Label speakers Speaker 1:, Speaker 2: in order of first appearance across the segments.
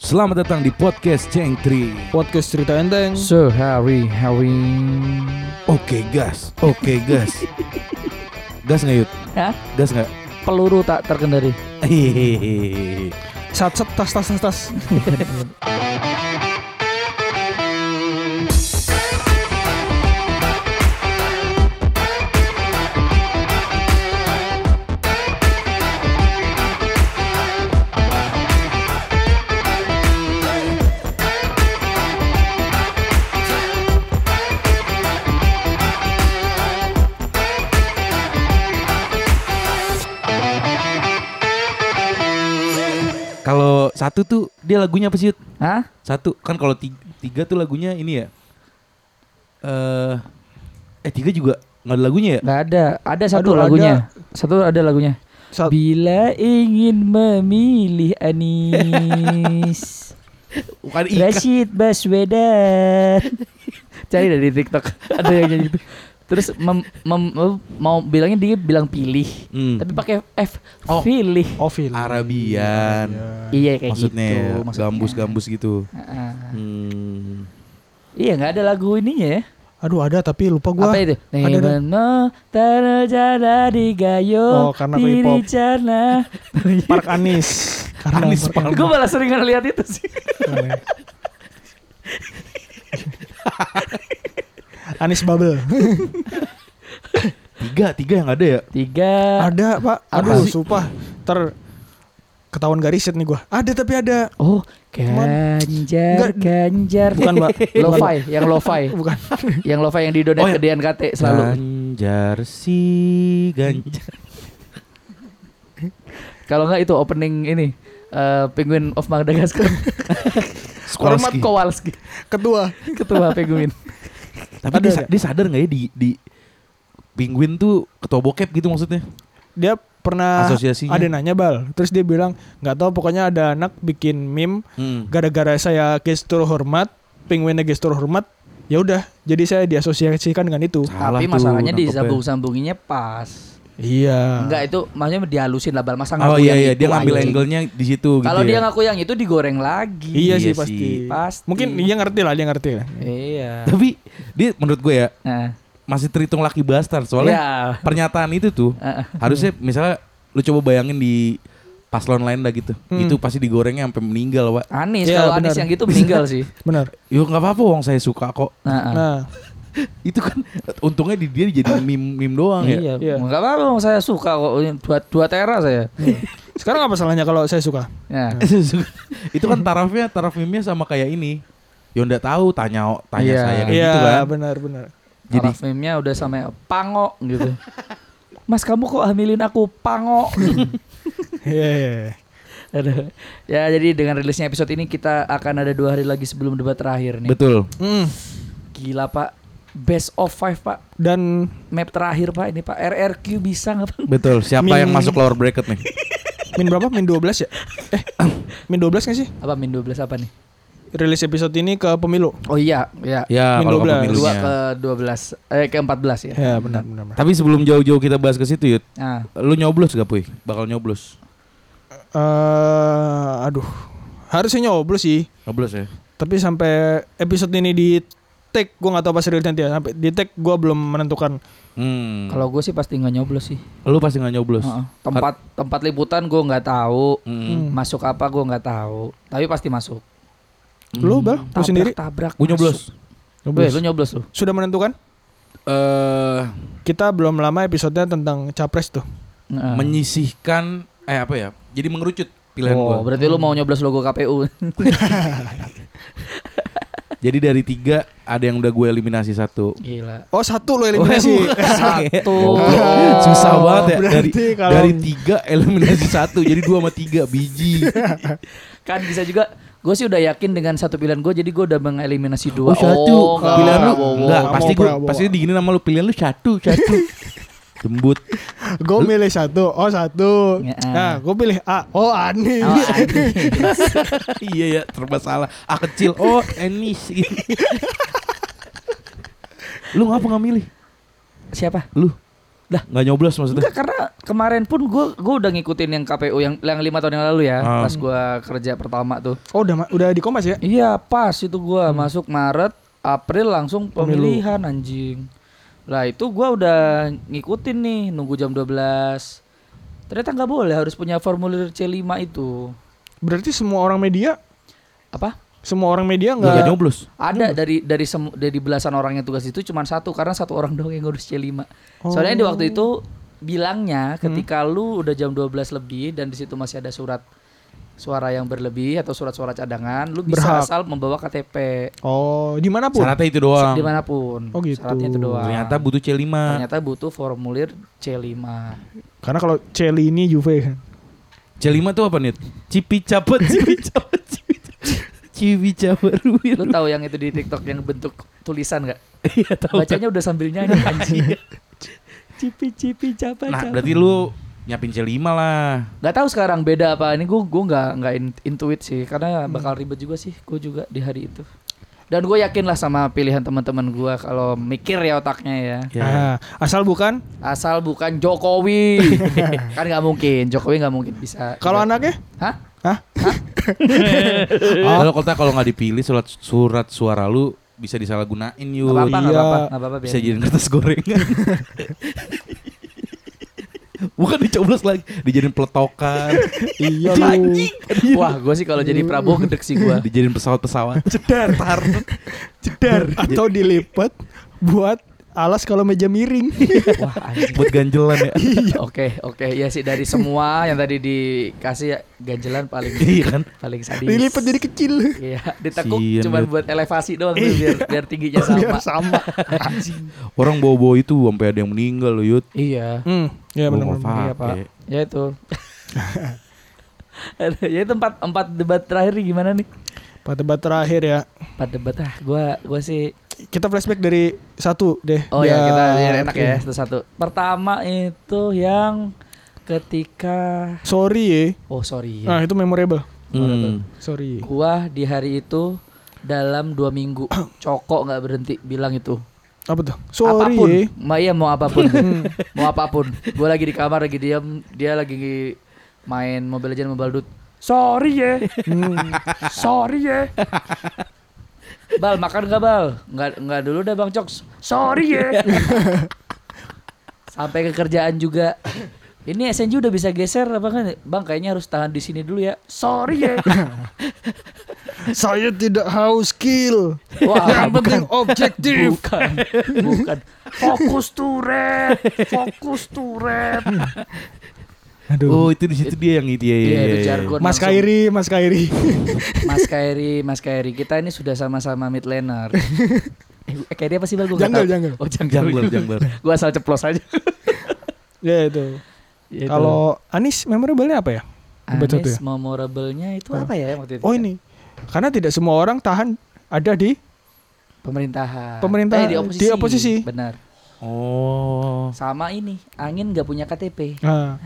Speaker 1: Selamat datang di podcast Cengtri.
Speaker 2: podcast cerita enteng
Speaker 3: Sehari-hari
Speaker 1: Oke gas, oke gas. gas nggak yud?
Speaker 3: Hah?
Speaker 1: Gas nggak?
Speaker 3: Peluru tak terkendali
Speaker 1: Hehehe.
Speaker 2: sat set tas tas tas tas
Speaker 1: Kalau satu tuh dia lagunya apa sih? Yud?
Speaker 3: Hah?
Speaker 1: Satu kan kalau ti- tiga, tuh lagunya ini ya. Eh, eh tiga juga nggak ada lagunya ya?
Speaker 3: Gak ada Ada satu
Speaker 2: Aduh,
Speaker 3: lagunya Satu ada lagunya
Speaker 2: Sat-
Speaker 3: Bila ingin memilih Anis
Speaker 1: Bukan ikan.
Speaker 3: Rashid Baswedan Cari dari TikTok Ada yang nyanyi itu Terus mem- mem- mem- mau bilangnya dia bilang pilih
Speaker 1: Hmm.
Speaker 3: Tapi pakai F
Speaker 1: Oh.
Speaker 3: Pilih
Speaker 2: ovil
Speaker 1: Arabian.
Speaker 3: Iya kayak
Speaker 1: maksudnya
Speaker 3: gitu maksudnya.
Speaker 1: gambus-gambus gitu.
Speaker 3: Heeh.
Speaker 1: Hmm.
Speaker 3: Iya nggak ada lagu ininya ya
Speaker 2: aduh ada tapi lupa gua
Speaker 3: apa itu?
Speaker 2: ada- ada.
Speaker 3: Nemenmu terjana di
Speaker 2: Oh,
Speaker 3: gayo
Speaker 2: karena
Speaker 3: diri
Speaker 2: K-pop.
Speaker 3: jana.
Speaker 2: Park Anis karena
Speaker 1: Anis
Speaker 2: Park
Speaker 3: Gue malah sering lihat itu sih.
Speaker 2: Anis. Anis Bubble
Speaker 1: Tiga, tiga yang ada ya?
Speaker 3: Tiga.
Speaker 2: ada pak
Speaker 3: Apa
Speaker 2: aduh
Speaker 3: sih?
Speaker 2: sumpah ter ketahuan gak riset nih gua ada tapi ada
Speaker 3: Oh,
Speaker 2: Cuman- Enggak.
Speaker 3: ganjar, ganjar.
Speaker 2: bukan pak
Speaker 3: Lo-fi, yang lo-fi.
Speaker 2: bukan iya. Nah.
Speaker 3: Yang lo-fi yang di donat
Speaker 1: Oh,
Speaker 3: ke
Speaker 1: yang-
Speaker 3: DNKT selalu.
Speaker 1: Ganjar si Ganjar.
Speaker 3: Kalau nggak itu opening ini. eh, Penguin of Madagascar Hormat
Speaker 1: Skolski.
Speaker 3: Kowalski
Speaker 2: ketua
Speaker 3: Ketua Penguin
Speaker 1: Tapi dia, sa- dia sadar nggak ya di di Penguin tuh ketua bokep gitu maksudnya?
Speaker 2: dia pernah
Speaker 1: Asosiasinya.
Speaker 2: ada nanya bal terus dia bilang nggak tahu pokoknya ada anak bikin meme
Speaker 1: Hmm.
Speaker 2: gara-gara saya gestur hormat, penguinnya gestur hormat, ya udah, jadi saya diasosiasikan dengan itu.
Speaker 1: Salah
Speaker 3: Tapi
Speaker 1: tuh
Speaker 3: masalahnya
Speaker 1: nangkepnya.
Speaker 3: disambung-sambunginnya pas
Speaker 2: Iya.
Speaker 3: Enggak itu maksudnya dihalusin lah Bal. Masa gitu
Speaker 1: Oh iya
Speaker 3: ngaku yang
Speaker 1: iya
Speaker 3: itu,
Speaker 1: dia ngambil
Speaker 3: anjing?
Speaker 1: angle-nya di situ gitu.
Speaker 3: Kalau dia
Speaker 1: ya.
Speaker 3: ngaku yang itu digoreng lagi.
Speaker 2: Iya,
Speaker 1: Iya
Speaker 2: sih
Speaker 1: sih.
Speaker 2: pasti.
Speaker 3: Pasti.
Speaker 2: Mungkin dia ngerti lah, dia ngerti lah.
Speaker 3: Iya.
Speaker 1: Tapi dia menurut gue ya
Speaker 3: Nah,
Speaker 1: masih terhitung laki bastard soalnya
Speaker 3: Iya.
Speaker 1: pernyataan itu tuh
Speaker 3: Heeh.
Speaker 1: harusnya misalnya lu coba bayangin di paslon lain dah gitu.
Speaker 2: Hmm.
Speaker 1: Itu pasti digorengnya sampai meninggal, Pak.
Speaker 3: Anis
Speaker 2: Iya,
Speaker 3: kalau Anis
Speaker 2: benar.
Speaker 3: yang gitu meninggal sih.
Speaker 2: Benar.
Speaker 1: Yo nggak apa-apa wong saya suka kok.
Speaker 3: Nah,
Speaker 2: Nah,
Speaker 1: Itu kan untungnya di dia jadi meme, meme doang ya.
Speaker 3: iya.
Speaker 2: Iya.
Speaker 3: Enggak apa-apa Bang. saya suka kok dua dua tera saya.
Speaker 2: sekarang apa salahnya kalau saya suka?
Speaker 3: Nah.
Speaker 1: itu kan tarafnya taraf meme sama kayak ini. Yo nggak tahu tanya tanya
Speaker 3: Iya.
Speaker 1: saya kayak
Speaker 2: Iya,
Speaker 1: gitu kan.
Speaker 2: benar benar.
Speaker 1: Jadi-
Speaker 3: Jadi meme-nya udah sampai pango gitu. Mas kamu kok hamilin aku pango?
Speaker 2: Iya.
Speaker 3: Aduh. ya jadi dengan rilisnya episode ini kita akan ada dua hari lagi sebelum debat terakhir nih.
Speaker 1: Betul.
Speaker 2: Hmm.
Speaker 3: Gila pak, best of five pak,
Speaker 2: Dan
Speaker 3: map terakhir pak ini pak RRQ bisa nggak pak?
Speaker 1: Betul. Siapa
Speaker 2: Meme.
Speaker 1: yang masuk lower bracket nih?
Speaker 2: min berapa? Min 12 ya? Eh, min 12 gak sih?
Speaker 3: Apa min 12 apa nih?
Speaker 2: Rilis episode ini ke pemilu.
Speaker 3: Oh iya, iya.
Speaker 1: Ya,
Speaker 2: Min
Speaker 1: kalau
Speaker 2: 12.
Speaker 3: Dua
Speaker 1: pemilunya.
Speaker 3: ke 12 eh ke 14 ya.
Speaker 1: Iya.
Speaker 2: Ya, benar benar. benar.
Speaker 1: Tapi sebelum jauh-jauh kita bahas ke situ, Yud.
Speaker 3: Nah,
Speaker 1: Lu nyoblos gak, Puy? Bakal nyoblos.
Speaker 2: Eh, aduh. Harusnya nyoblos sih.
Speaker 1: Nyoblos ya.
Speaker 2: Tapi sampai episode ini di take gue nggak tahu pas rilis nanti ya sampai di take gue belum menentukan
Speaker 1: Hmm.
Speaker 3: kalau gue sih pasti nggak nyoblos sih.
Speaker 1: lu pasti gak nyoblos. Hmm.
Speaker 3: Heeh. Tempat tempat liputan gue nggak tahu.
Speaker 2: Hmm.
Speaker 1: Mm-mm.
Speaker 3: Masuk apa gue nggak tahu. Tapi pasti masuk.
Speaker 2: lu bal lu
Speaker 3: Tabrak,
Speaker 2: sendiri
Speaker 3: Tabrak.
Speaker 1: Gua nyoblos.
Speaker 3: Masuk. Weh, lu nyoblos lu.
Speaker 2: sudah menentukan
Speaker 1: Eh,
Speaker 2: kita belum lama episodenya tentang capres tuh
Speaker 3: Heeh.
Speaker 1: menyisihkan eh apa ya? Jadi mengerucut pilihan
Speaker 3: Oh,
Speaker 1: gua.
Speaker 3: berarti lu mau nyoblos logo KPU.
Speaker 1: Jadi dari tiga ada yang udah gue eliminasi satu.
Speaker 3: Gila.
Speaker 2: oh iya. satu lo eliminasi
Speaker 3: Satu. Oh,
Speaker 1: Goblok. Susah banget ya dari
Speaker 2: Berarti kalau-
Speaker 1: dari tiga eliminasi satu jadi dua sama tiga biji.
Speaker 3: Kan bisa juga Gue sih udah yakin dengan satu pilihan gue jadi gue udah mengeliminasi
Speaker 1: Oh,
Speaker 3: dua.
Speaker 1: satu.
Speaker 3: nggak,
Speaker 1: pilihan lu
Speaker 3: Prabowo.
Speaker 1: enggak
Speaker 2: Nggak
Speaker 1: pasti
Speaker 2: mau
Speaker 1: gue
Speaker 2: Prabowo.
Speaker 1: pasti digini nama lu pilihan lu satu satu. Lembut.
Speaker 2: gue milih satu oh satu
Speaker 3: Ya.
Speaker 2: nah gue pilih A oh Ani
Speaker 3: Oh, aneh.
Speaker 1: iya ya serba salah. Ah kecil. Oh Enis. gitu. lu ngapa nggak milih?
Speaker 3: Siapa?
Speaker 1: Lu Dah, nggak nyoblos maksudnya.
Speaker 3: Enggak karena kemarin pun gue gue udah ngikutin yang KPU yang yang lima tahun yang lalu ya
Speaker 1: Ah.
Speaker 3: pas gue kerja pertama tuh.
Speaker 2: Oh udah ma- udah di Kompas ya?
Speaker 3: Iya pas itu gue
Speaker 1: Hmm.
Speaker 3: masuk Maret April langsung
Speaker 2: Pemilu.
Speaker 3: pemilihan anjing. Lah itu gue udah ngikutin nih nunggu jam 12 Ternyata nggak boleh harus punya formulir C5 itu
Speaker 2: Berarti semua orang media
Speaker 3: apa?
Speaker 2: semua orang media
Speaker 1: Nggak
Speaker 2: nggak
Speaker 1: nyoblos.
Speaker 3: Ada dari dari semu, dari belasan orang yang tugas itu cuma satu karena satu orang doang yang ngurus C5.
Speaker 2: Oh. Hmm.
Speaker 3: Soalnya di waktu itu bilangnya ketika lu udah jam 12 lebih dan di situ masih ada surat suara yang berlebih atau surat-surat cadangan, lu bisa
Speaker 2: Berhak.
Speaker 3: asal membawa KTP
Speaker 2: Oh dimanapun.
Speaker 1: Syaratnya itu doang.
Speaker 3: dimanapun.
Speaker 2: Oh, gitu.
Speaker 3: Syaratnya itu doang.
Speaker 1: Ternyata butuh C5.
Speaker 3: Ternyata butuh formulir C5.
Speaker 2: Karena kalau Celi ini Juve kan.
Speaker 1: C5 tuh apa nih? Cipi capet, cipi capet, cipi capet. Cipi capet
Speaker 3: Lu
Speaker 1: ruwir.
Speaker 3: tahu yang itu di TikTok yang bentuk tulisan nggak?
Speaker 1: Iya tahu.
Speaker 3: Bacanya udah sambil nyanyi anjing. Cipi-cipi capa
Speaker 1: Nah, berarti lu nyiapin C5 lah.
Speaker 3: Gak tahu sekarang beda apa ini gue gue nggak nggak in- intuit sih karena bakal ribet juga sih gue juga di hari itu dan gue yakin lah sama pilihan teman-teman gue kalau mikir ya otaknya ya
Speaker 1: Ya.
Speaker 2: Ah, asal bukan
Speaker 3: asal bukan Jokowi kan nggak mungkin Jokowi nggak mungkin bisa
Speaker 2: kalau anaknya
Speaker 3: hah
Speaker 2: Hah?
Speaker 3: Iya.
Speaker 1: Kalau kota kalau nggak dipilih surat surat suara lu bisa disalahgunain
Speaker 3: nggak
Speaker 1: yuk.
Speaker 3: apa-apa nggak
Speaker 2: iya.
Speaker 3: apa-apa nggak apa-apa
Speaker 1: Bisa gitu.
Speaker 3: biarin.
Speaker 1: jadi kertas gorengan. Bukan dicoblos lagi, dijadiin peletokan,
Speaker 2: iya lu.
Speaker 3: Anjing. wah gue sih kalau jadi Prabowo gedek sih gue
Speaker 1: dijadiin pesawat-pesawat.
Speaker 2: Jedar, jedar atau dilipat buat alas kalau meja miring.
Speaker 3: wah anjing.
Speaker 1: buat ganjelan ya.
Speaker 3: Oke oke ya sih dari semua yang tadi dikasih ya, ganjelan paling
Speaker 1: Iya kan?
Speaker 3: paling sadis.
Speaker 2: dilipat jadi kecil.
Speaker 3: Iya, ditekuk
Speaker 1: Sian,
Speaker 3: cuman
Speaker 1: Dut.
Speaker 3: buat elevasi doang tuh, biar biar tingginya sama.
Speaker 2: Biar sama.
Speaker 1: Orang bawa-bawa itu sampai ada yang meninggal loh, Yud.
Speaker 3: Iya.
Speaker 2: Hmm, ya
Speaker 1: Bawa
Speaker 2: benar.
Speaker 1: wafat,
Speaker 3: Iya, Pak.
Speaker 1: ya.
Speaker 3: Ya itu. Aduh, ya itu empat empat debat terakhir nih gimana nih?
Speaker 2: Pada debat terakhir ya.
Speaker 3: Empat debat ah, gua gua sih
Speaker 2: Kita flashback dari satu deh.
Speaker 3: Oh ya,
Speaker 2: biar-
Speaker 3: kita biar enak ya satu-satu. Pertama itu yang ketika
Speaker 2: Sorry ya.
Speaker 3: oh sorry
Speaker 2: Nah,
Speaker 3: ya.
Speaker 2: itu memorable.
Speaker 1: Hmm.
Speaker 2: Sorry.
Speaker 3: Gua di hari itu dalam dua minggu cokok nggak berhenti bilang itu
Speaker 2: Apa tuh? Sorry
Speaker 3: apapun.
Speaker 2: ya.
Speaker 3: Ma, iya mau apapun. mau apapun. Gue lagi di kamar lagi diam, dia lagi main Mobile Legends Mobile Dude. Sorry ya. Sorry ya. Bal, makan gak Bal? Nggak, nggak dulu dah Bang Coks. Sorry ya. Sampai ke kerjaan juga. Ini SNJ udah bisa geser apa kan? Bang kayaknya harus tahan di sini dulu ya. Sorry ya.
Speaker 2: Saya tidak haus kill.
Speaker 3: Wah,
Speaker 2: Yang
Speaker 3: bukan.
Speaker 2: penting objektif.
Speaker 3: Bukan, bukan. Fokus to rap, fokus to rap.
Speaker 1: Oh, itu di situ dia yang itu ya.
Speaker 3: Iya,
Speaker 1: ya,
Speaker 3: itu
Speaker 1: ya, ya.
Speaker 2: Uh,
Speaker 3: jargon.
Speaker 2: Mas
Speaker 3: langsung.
Speaker 2: Kairi, Mas Kairi.
Speaker 3: Mas Kairi, Mas Kairi, kita ini sudah sama-sama mid laner. eh, Kairi apa sih bang? Gua nggak
Speaker 2: Jungle,
Speaker 3: tahu.
Speaker 2: jungle.
Speaker 3: Oh jungle.
Speaker 1: Jangler, jangler.
Speaker 3: Gue asal ceplos aja.
Speaker 2: ya itu.
Speaker 3: Gitu.
Speaker 2: Kalau Anis memorable-nya apa ya? debat satu
Speaker 3: Anies
Speaker 2: ya?
Speaker 3: memorable-nya itu
Speaker 2: Apa?
Speaker 3: apa ya waktu itu?
Speaker 2: Oh ini. Karena tidak semua orang tahan ada di
Speaker 3: Pemerintahan.
Speaker 2: Pemerintahan,
Speaker 3: Eh, di oposisi.
Speaker 2: di oposisi.
Speaker 3: Benar.
Speaker 1: Oh.
Speaker 3: Sama ini, angin nggak punya KTP.
Speaker 2: Nah,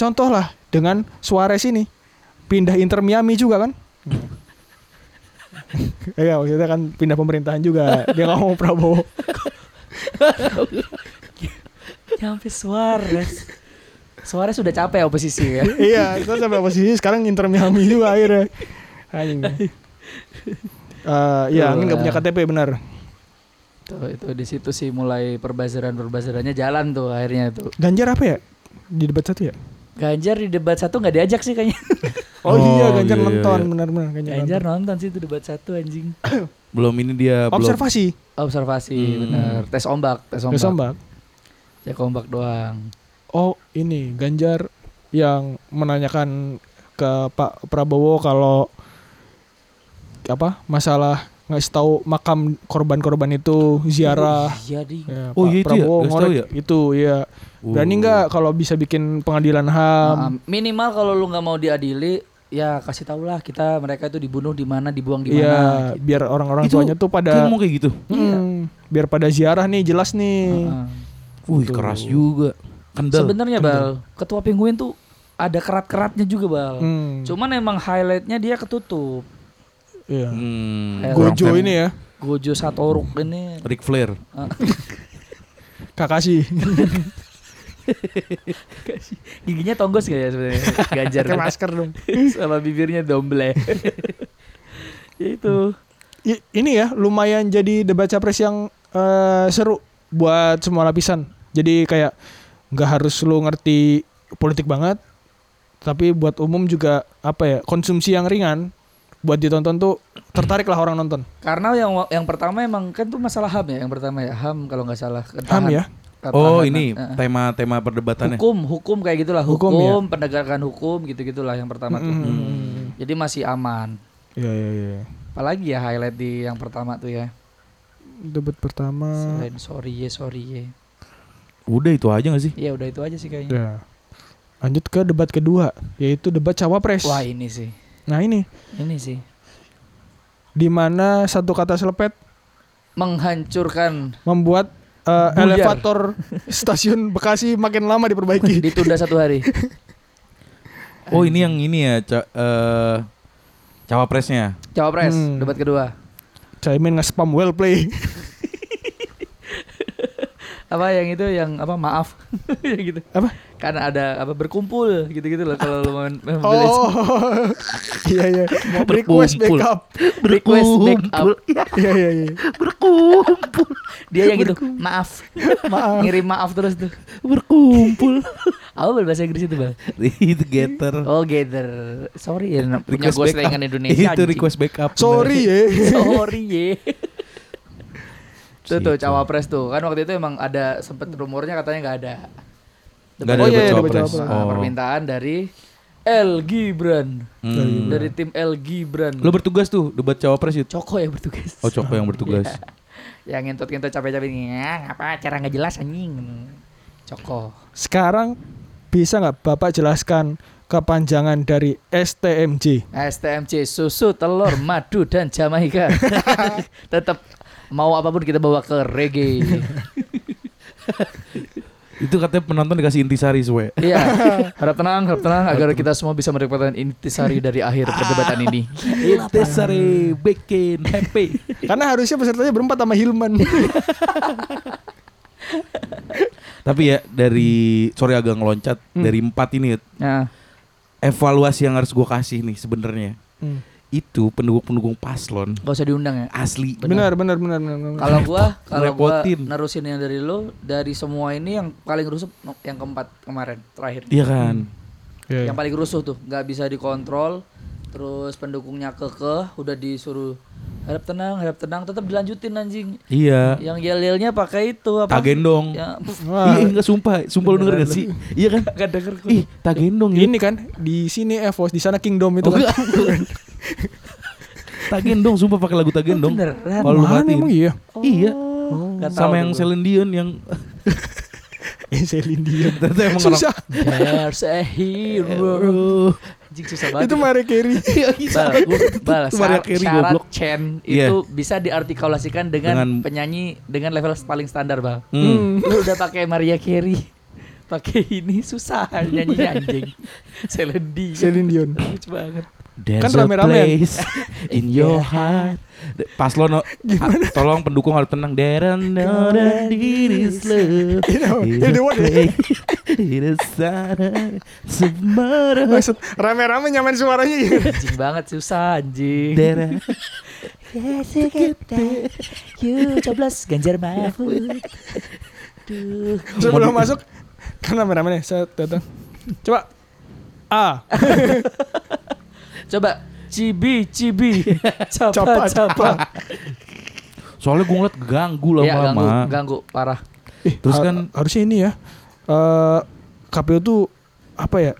Speaker 2: contoh lah dengan Suarez ini pindah Inter Miami juga kan? Iya maksudnya kan pindah pemerintahan juga dia nggak mau Prabowo.
Speaker 3: Nyampe Suarez. Suarez sudah capek oposisi ya.
Speaker 2: iya itu sampai posisi sekarang Inter Miami juga akhirnya. Anjing. Eh, iya angin nggak punya KTP benar.
Speaker 3: Tuh, itu di situ sih mulai perbazaran-perbazarannya jalan tuh akhirnya tuh.
Speaker 2: Ganjar apa ya di debat satu ya?
Speaker 3: Ganjar di debat satu nggak diajak sih kayaknya.
Speaker 2: Oh,
Speaker 1: Oh,
Speaker 2: iya Ganjar
Speaker 1: iya, iya,
Speaker 2: nonton
Speaker 1: iya.
Speaker 2: benar-benar Ganjar,
Speaker 3: Ganjar
Speaker 2: nonton.
Speaker 3: nonton sih itu debat satu anjing.
Speaker 1: Belum ini dia belum.
Speaker 2: Observasi
Speaker 3: Observasi
Speaker 1: Hmm.
Speaker 3: bener. Tes ombak, tes
Speaker 2: Dosa
Speaker 3: ombak.
Speaker 2: Mbak.
Speaker 3: Cek ombak doang.
Speaker 2: Oh ini Ganjar yang menanyakan ke Pak Prabowo kalau apa masalah ngasih tahu makam korban-korban itu ziarah.
Speaker 3: Oh, iya di.
Speaker 2: Ya,
Speaker 1: Oh,
Speaker 2: Pak
Speaker 1: iya itu ya?
Speaker 2: Prabowo
Speaker 1: Ngasih
Speaker 2: ngorek
Speaker 1: tahu ya?
Speaker 2: itu ya. Berani
Speaker 1: Oh.
Speaker 2: nggak kalau bisa bikin pengadilan HAM?
Speaker 3: Nah, minimal kalau lu nggak mau diadili, ya kasih tau lah kita mereka itu dibunuh di mana, dibuang di
Speaker 2: Iya,
Speaker 3: mana. gitu.
Speaker 2: biar orang-orang
Speaker 1: Itu
Speaker 2: tuanya tuh
Speaker 1: Dia
Speaker 2: pada
Speaker 1: mau kayak gitu.
Speaker 2: Hmm, biar pada ziarah nih jelas nih.
Speaker 3: Heeh.
Speaker 1: Wih, keras juga. Kendal.
Speaker 3: Sebenarnya Bal, ketua penguin tuh ada kerat-keratnya juga Bal.
Speaker 2: Hmm,
Speaker 3: Cuman emang highlightnya dia ketutup.
Speaker 2: iya.
Speaker 1: Hmm,
Speaker 3: Eh,
Speaker 1: kurang
Speaker 2: Gojo
Speaker 1: fair.
Speaker 2: ini ya,
Speaker 3: Gojo Ah. Satoruk ini.
Speaker 1: Ric Flair.
Speaker 2: Kakashi.
Speaker 3: Giginya tonggos gak ya sebenarnya? Ganjar.
Speaker 2: Pakai masker dong.
Speaker 3: Sama bibirnya domble. ya itu.
Speaker 2: I- ini ya lumayan jadi debat capres yang eh, seru buat semua lapisan. Jadi kayak nggak harus lu ngerti politik banget, tapi buat umum juga apa ya konsumsi yang ringan buat ditonton tuh tertarik lah orang nonton.
Speaker 3: Karena yang yang pertama emang kan tuh masalah HAM ya, yang pertama ya HAM kalau nggak salah.
Speaker 2: Paham ya?
Speaker 1: Oh
Speaker 3: Ketahanan,
Speaker 1: ini
Speaker 3: eh.
Speaker 1: tema-tema perdebatannya.
Speaker 3: hukum, hukum kayak gitulah,
Speaker 2: Hukum,
Speaker 3: hukum, penegakan hukum gitu-gitulah yang pertama tuh. Hmm.
Speaker 2: Mm.
Speaker 3: Jadi masih aman.
Speaker 2: Iya iya iya.
Speaker 3: Apalagi ya highlight di yang pertama tuh ya.
Speaker 2: Debat pertama.
Speaker 3: Selain sorry ye, sorry ye.
Speaker 1: Udah itu aja gak sih?
Speaker 3: Iya udah itu aja sih kayaknya.
Speaker 2: Ya. Lanjut ke debat kedua, yaitu debat cawapres.
Speaker 3: Wah ini sih,
Speaker 2: Nah ini,
Speaker 3: ini sih
Speaker 2: di mana satu kata selepet
Speaker 3: menghancurkan
Speaker 2: membuat uh,
Speaker 3: Buyar.
Speaker 2: elevator stasiun Bekasi makin lama diperbaiki.
Speaker 3: ditunda satu hari.
Speaker 1: Oh ini yang ini ya ca- eh, cawapresnya.
Speaker 3: Cawapres
Speaker 2: Hmm.
Speaker 3: debat kedua.
Speaker 2: Caimin nge-spam well play.
Speaker 3: Apa yang itu yang apa maaf yang gitu.
Speaker 2: Apa?
Speaker 3: Kan ada apa berkumpul gitu-gitu loh kalau lu mau
Speaker 2: Oh. Iya iya. Request
Speaker 1: berkumpul.
Speaker 2: backup.
Speaker 3: request
Speaker 2: oh.
Speaker 3: backup.
Speaker 2: Iya iya iya.
Speaker 3: Berkumpul. Dia yang gitu, maaf.
Speaker 2: Maaf.
Speaker 3: Ngirim maaf terus tuh.
Speaker 1: Berkumpul.
Speaker 3: Apa bahasa Inggris itu, Bang?
Speaker 2: Hmm.
Speaker 1: itu getter.
Speaker 3: Oh, gather. Sorry ya punya
Speaker 1: Request
Speaker 3: gue
Speaker 1: backup.
Speaker 3: selingan
Speaker 1: itu
Speaker 3: Indonesia. anjing.
Speaker 1: request backup.
Speaker 2: Sorry ya.
Speaker 3: Sorry ye. Tuh tuh
Speaker 1: Gitu.
Speaker 3: cawapres tuh kan waktu itu emang ada sempet rumornya katanya nggak ada.
Speaker 1: Gak ada
Speaker 2: Oh,
Speaker 1: debat
Speaker 2: iya, iya, debat
Speaker 1: cawapres.
Speaker 2: cawapres.
Speaker 3: Nah,
Speaker 1: Oh.
Speaker 3: permintaan dari El Gibran
Speaker 1: Hmm.
Speaker 3: dari tim El Gibran.
Speaker 1: Lo bertugas tuh debat cawapres itu.
Speaker 3: Coko ya bertugas.
Speaker 1: Oh Coko yang bertugas.
Speaker 3: Iya. Yang ngentot-ngentot capek-capek "Nyah, apa acara nggak jelas anjing. Coko.
Speaker 2: Sekarang bisa nggak Bapak jelaskan kepanjangan dari STMJ?
Speaker 3: STMJ susu, telur, madu dan Jamaika. Tetap mau apapun kita bawa ke reggae.
Speaker 1: Itu katanya penonton dikasih intisari suwe.
Speaker 3: Iya, harap tenang, harap tenang agar kita semua bisa mendapatkan intisari dari akhir perdebatan ini.
Speaker 1: Intisari bikin happy.
Speaker 2: Karena harusnya pesertanya berempat sama Hilman.
Speaker 1: Tapi ya dari sorry agak ngeloncat
Speaker 3: Hmm.
Speaker 1: dari empat ini
Speaker 3: Nah,
Speaker 1: evaluasi yang harus gue kasih nih sebenarnya
Speaker 2: Hmm.
Speaker 1: itu pendukung-pendukung paslon
Speaker 3: gak usah diundang ya.
Speaker 1: asli.
Speaker 2: Benar benar benar benar. benar.
Speaker 3: Kalau gua,
Speaker 1: Repot,
Speaker 3: kalau gua
Speaker 1: ngerepotin.
Speaker 3: nerusin yang dari lo, dari semua ini yang paling rusuh no- yang keempat kemarin terakhir.
Speaker 1: Iya kan.
Speaker 2: Iya, iya.
Speaker 3: Yang paling rusuh tuh, nggak bisa dikontrol. Terus pendukungnya kekeh, udah disuruh harap tenang, harap tenang, tetap dilanjutin anjing.
Speaker 1: Iya.
Speaker 3: Yang yel-yelnya pakai itu apa?
Speaker 1: Tagendong.
Speaker 3: Ya,
Speaker 2: Wah,
Speaker 1: Iya enggak sumpah, sumpah lu denger gak sih? Iya kan?
Speaker 3: gak denger gua.
Speaker 1: Ih, tagendong ya.
Speaker 2: ini kan di sini Evos, di sana Kingdom itu
Speaker 1: Oh,
Speaker 2: kan.
Speaker 1: enggak. tagendong sumpah pakai lagu tagendong.
Speaker 3: Beneran.
Speaker 1: Kalau lu
Speaker 2: Mana
Speaker 1: matiin.
Speaker 2: emang iya?
Speaker 1: Iya.
Speaker 3: Nggak tahu
Speaker 1: Sama
Speaker 3: tuh
Speaker 1: yang
Speaker 3: gua.
Speaker 1: Celine Dion yang
Speaker 2: Eh, Celine Dion.
Speaker 1: ternyata emang orang-
Speaker 2: Susah.
Speaker 3: There's a hero.
Speaker 1: Bro.
Speaker 3: Anjing susah banget.
Speaker 2: Itu Mary Carey.
Speaker 3: Bal, bal,
Speaker 1: Itu Mariah
Speaker 3: syarat,
Speaker 1: Carey,
Speaker 3: syarat
Speaker 1: goblok.
Speaker 3: Chen
Speaker 1: Iya.
Speaker 3: itu bisa diartikulasikan dengan,
Speaker 1: Dengan-
Speaker 3: penyanyi dengan level paling standar, Bal.
Speaker 1: Hmm.
Speaker 3: Lu udah pakai Maria Carey, pakai ini susah nyanyi anjing. Celine Dion.
Speaker 2: Celine Dion.
Speaker 3: Lucu banget.
Speaker 1: There's
Speaker 2: Kan
Speaker 1: a
Speaker 2: rame-rame ya?
Speaker 1: place in your heart. De- Paslon no- ah, tolong pendukung harus tenang. There are no is love.
Speaker 2: You know,
Speaker 1: in a
Speaker 2: you know what?
Speaker 1: place, in a summer, tomorrow.
Speaker 2: Maksud rame-rame nyaman suaranya ya.
Speaker 3: Anjing banget susah anjing.
Speaker 1: There are-
Speaker 4: Yes, you get that. You
Speaker 3: Coblos Ganjar Mahfud.
Speaker 1: Mau
Speaker 2: Sebelum
Speaker 1: di-
Speaker 2: masuk kan rame-rame nih set datang. Coba A.
Speaker 3: Coba cibi cibi.
Speaker 2: Capa,
Speaker 3: Capa
Speaker 2: capa.
Speaker 3: capa.
Speaker 1: Soalnya gue ngeliat ganggu
Speaker 3: Ya, ganggu,
Speaker 1: lama-lama.
Speaker 3: ganggu parah.
Speaker 2: Ih,
Speaker 1: Terus
Speaker 2: ha-
Speaker 1: kan-
Speaker 2: harusnya ini ya. Eh KPU tuh apa ya?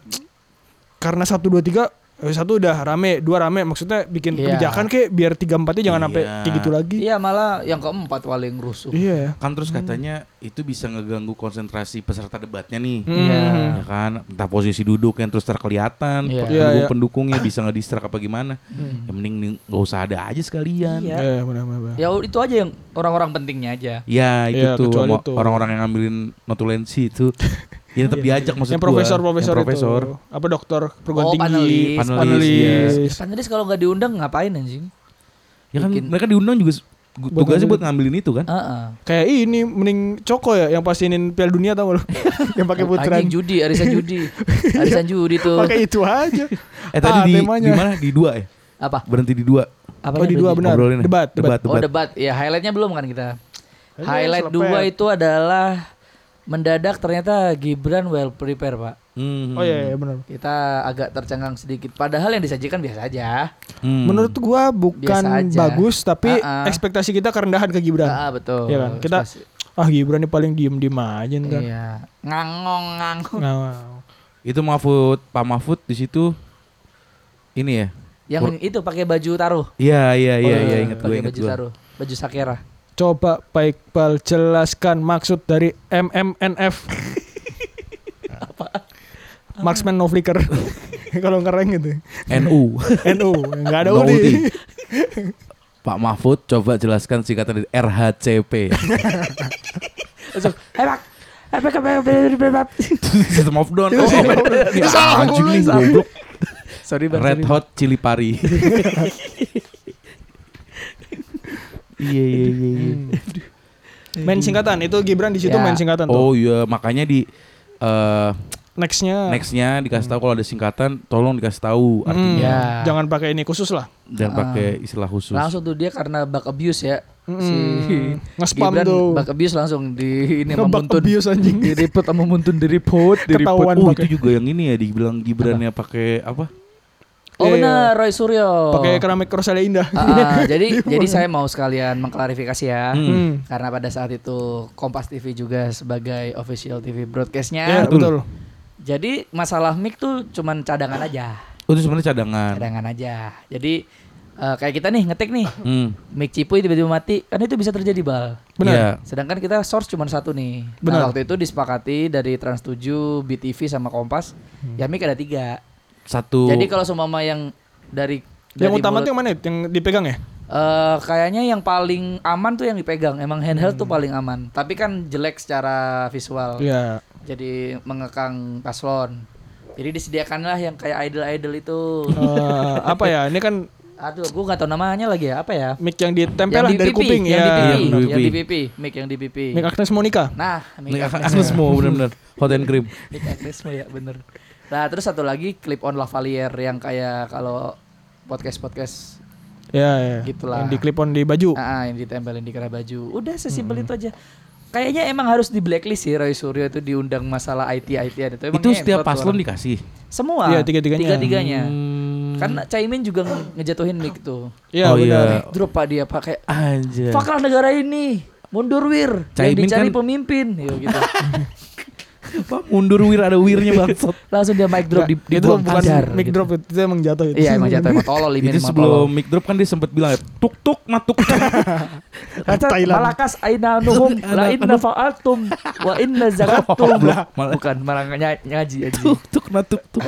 Speaker 2: Karena 1 2 3 eh, satu udah rame, dua rame maksudnya bikin
Speaker 3: Iya.
Speaker 2: kebijakan kek biar 3 4 nya jangan sampai
Speaker 1: Iya.
Speaker 2: kayak gitu lagi.
Speaker 3: Iya, malah yang keempat paling rusuh.
Speaker 2: Iya ya.
Speaker 1: Kan terus katanya itu bisa ngeganggu konsentrasi peserta debatnya nih.
Speaker 3: Iya.
Speaker 2: Hmm.
Speaker 1: Ya kan, entah posisi duduk yang terus terkelihatan,
Speaker 3: Iya.
Speaker 2: Iya,
Speaker 3: Hmm.
Speaker 2: iya.
Speaker 1: pendukung-pendukungnya bisa ngedistract apa gimana. Ya mending nih, nggak usah ada aja sekalian.
Speaker 3: Iya.
Speaker 2: Iya, benar benar. benar.
Speaker 3: Ya itu aja yang orang-orang pentingnya aja.
Speaker 1: Ya itu
Speaker 2: Iya,
Speaker 1: tuh
Speaker 2: kecuali
Speaker 1: sama
Speaker 2: tuh.
Speaker 1: orang-orang yang ngambilin notulensi itu ya tetap diajak maksud
Speaker 2: Iya, Yang
Speaker 1: gua.
Speaker 2: profesor-profesor
Speaker 1: Yang profesor.
Speaker 2: itu apa dokter perguruan
Speaker 3: Oh,
Speaker 2: tinggi
Speaker 3: panelis,
Speaker 1: panelis, iya.
Speaker 2: panelis.
Speaker 3: Panelis kalau nggak diundang ngapain anjing?
Speaker 1: Ya kan
Speaker 3: Bikin-
Speaker 1: mereka diundang juga s- Gu-
Speaker 2: Buat
Speaker 1: Tugasnya
Speaker 2: ngambilin.
Speaker 1: buat ngambilin itu kan.
Speaker 3: Heeh.
Speaker 2: Kayak ini mending Coko ya yang pastiin Piala Dunia tau gak lu? yang pakai putaran.
Speaker 3: Anjing judi, arisan judi. Arisan judi tuh.
Speaker 2: Pakai itu aja.
Speaker 1: Eh tadi
Speaker 2: Ah,
Speaker 1: di
Speaker 2: temanya.
Speaker 1: di mana? Di dua ya.
Speaker 3: Apa?
Speaker 1: Berhenti di dua.
Speaker 2: Oh
Speaker 3: Apa
Speaker 2: di dua benar.
Speaker 1: Obrolinnya.
Speaker 2: Debat, debat.
Speaker 1: Debat.
Speaker 3: Oh debat. Ya highlightnya belum kan kita.
Speaker 2: Highlight
Speaker 3: Highlight
Speaker 2: selepet.
Speaker 3: dua itu adalah mendadak ternyata Gibran well prepare pak.
Speaker 1: Hmm.
Speaker 2: Oh iya, iya benar.
Speaker 3: Kita agak tercengang sedikit. Padahal yang disajikan biasa aja.
Speaker 1: Hmm.
Speaker 2: Menurut gua bukan
Speaker 3: Biasa aja.
Speaker 2: bagus tapi
Speaker 3: Ah, ah.
Speaker 2: ekspektasi kita kerendahan ke Gibran.
Speaker 3: Ah betul.
Speaker 2: Iya kan? Kita-
Speaker 3: Spasi-
Speaker 2: Ah Gibran ini paling diem-diem aja ntar.
Speaker 3: Iya. Ngangong ngangong.
Speaker 2: Nah,
Speaker 1: itu Mahfud, Pak Mahfud di situ ini ya.
Speaker 3: Yang itu pakai baju taruh.
Speaker 1: Iya iya iya
Speaker 3: Oh,
Speaker 1: iya ingat gue
Speaker 3: pakai
Speaker 1: ingat
Speaker 3: baju
Speaker 1: gue.
Speaker 3: taruh. Baju sakera.
Speaker 2: coba Pak Iqbal jelaskan maksud dari MMNF. Marksman no flicker. Kalau ngereng gitu.
Speaker 1: NU.
Speaker 2: NU, enggak ada
Speaker 1: No
Speaker 2: UDI.
Speaker 1: UDI. Pak Mahfud coba jelaskan singkatan dari RHCP.
Speaker 3: Langsung, "Hey, Pak. Eh, Pak, Pak, Pak, Pak, Pak."
Speaker 1: System of Down. Oh, ini
Speaker 2: Salah
Speaker 1: anjing
Speaker 2: mulu,
Speaker 1: nih,
Speaker 2: salah.
Speaker 1: goblok.
Speaker 3: Sorry Bang,
Speaker 1: Red
Speaker 3: sorry.
Speaker 1: Hot Chili Pari. Iya iya iya. iya.
Speaker 2: Hmm. Main singkatan itu Gibran di situ
Speaker 3: Ya.
Speaker 2: main singkatan tuh.
Speaker 1: Oh iya makanya di eh,
Speaker 2: Nextnya
Speaker 1: nextnya dikasih tahu kalau ada singkatan tolong dikasih tahu
Speaker 2: Hmm,
Speaker 1: artinya
Speaker 3: Ya.
Speaker 2: jangan pakai ini khusus lah.
Speaker 1: dan pakai istilah khusus.
Speaker 3: Langsung tuh dia karena bug abuse ya. Si
Speaker 2: Mm, nge-spam
Speaker 3: Gibran
Speaker 2: tuh.
Speaker 3: bug abuse langsung di ini sama
Speaker 2: Ngebug
Speaker 3: Muntun.
Speaker 2: abuse anjing.
Speaker 3: Di report sama Muntun, di report, di report.
Speaker 2: Ketahuan
Speaker 1: Oh
Speaker 2: pakai
Speaker 1: itu juga yang ini ya dibilang Gibrannya pakai apa?
Speaker 3: Oh
Speaker 2: Iya.
Speaker 3: benar, Roy Suryo.
Speaker 2: pakai keramik Rosalia Indah.
Speaker 3: Ah, ah, jadi jadi saya mau sekalian mengklarifikasi ya.
Speaker 1: Hmm.
Speaker 2: Hmm.
Speaker 3: Karena pada saat itu Kompas TV juga sebagai official
Speaker 2: Ya,
Speaker 3: TV
Speaker 1: Iya,
Speaker 3: broadcastnya.
Speaker 2: betul.
Speaker 3: Jadi masalah mic tuh cuman cadangan aja,
Speaker 1: Oh, itu sebenarnya cadangan.
Speaker 3: cadangan aja. Jadi eh, kayak kita nih ngetik nih,
Speaker 1: Hmm.
Speaker 3: mic cipuy tiba-tiba mati, kan itu bisa terjadi bal.
Speaker 2: Benar.
Speaker 1: Iya.
Speaker 3: Sedangkan kita source cuma satu nih.
Speaker 2: Benar.
Speaker 3: Nah, waktu itu disepakati dari Trans 7, BTV sama Kompas,
Speaker 2: Hmm.
Speaker 3: ya mic ada tiga.
Speaker 1: Satu.
Speaker 3: Jadi kalau seumpama yang dari
Speaker 2: Yang
Speaker 3: dari
Speaker 2: utama
Speaker 3: mulut-
Speaker 2: tuh yang mana? Yang dipegang ya?
Speaker 3: Eh, kayaknya yang paling aman tuh yang dipegang. Emang handheld tuh paling aman. Tapi kan jelek secara visual.
Speaker 2: Hmm. Iya.
Speaker 3: Jadi mengekang paslon. Jadi disediakanlah yang kayak idol-idol itu.
Speaker 2: Eh, apa ya? Ini kan
Speaker 3: Aduh, gua nggak tahu namanya lagi ya. Apa ya?
Speaker 2: mic yang ditempel
Speaker 3: yang
Speaker 2: lah dari
Speaker 3: pipi,
Speaker 2: kuping ya.
Speaker 3: yang
Speaker 1: Iya,
Speaker 3: di pipi,
Speaker 1: benar.
Speaker 3: yang di pipi, mic yang di pipi.
Speaker 2: Mic Agnes Monica.
Speaker 3: Nah, mic
Speaker 1: Nih,
Speaker 3: Agnes.
Speaker 1: Agnes semua benar-benar hot and cream.
Speaker 3: Mic Agnesmo ya, bener. Nah, terus satu lagi clip on lavalier yang kayak kalau podcast-podcast
Speaker 2: Ya, ya.
Speaker 3: Gitulah.
Speaker 2: Yang di clip on di baju.
Speaker 3: Ah, ah, yang ditempelin di kerah baju. Udah sesimpel itu aja. Kayaknya emang harus di blacklist sih Roy Suryo itu diundang masalah IT IT itu. Emang
Speaker 1: itu
Speaker 3: ngentot
Speaker 1: setiap
Speaker 3: tuh
Speaker 1: paslon
Speaker 3: orang.
Speaker 1: dikasih.
Speaker 3: semua.
Speaker 2: Iya, tiga-tiganya.
Speaker 3: Tiga-tiganya.
Speaker 1: Hmm.
Speaker 3: Karena Caimin juga nge- ngejatuhin mic tuh.
Speaker 2: Iya,
Speaker 1: Oh, iya.
Speaker 2: benar.
Speaker 3: Drop pak dia pakai
Speaker 1: Anjir.
Speaker 3: faklah negara ini. Mundur wir, yang
Speaker 1: Caimin
Speaker 3: dicari
Speaker 1: kan-
Speaker 3: pemimpin, Yo, gitu.
Speaker 1: Pak, mundur wir ada wirnya bangsat.
Speaker 3: Langsung dia mic drop di,
Speaker 2: Nggak, itu
Speaker 3: dibuang
Speaker 2: bukan
Speaker 3: kajar,
Speaker 2: mic
Speaker 3: gitu.
Speaker 2: drop itu itu emang jatuh itu.
Speaker 3: Iya emang jatuh emang tolol ini
Speaker 1: itu
Speaker 3: emang
Speaker 1: sebelum mic drop kan dia sempat bilang tuk tuk matuk.
Speaker 3: tolol. Kata
Speaker 2: Thailand.
Speaker 3: malakas aina nuhum la inna fa'altum wa inna zakatum.
Speaker 1: Malah- malah-
Speaker 3: Bukan malah ny- ngaji aja.
Speaker 1: tuk tuk matuk tuk.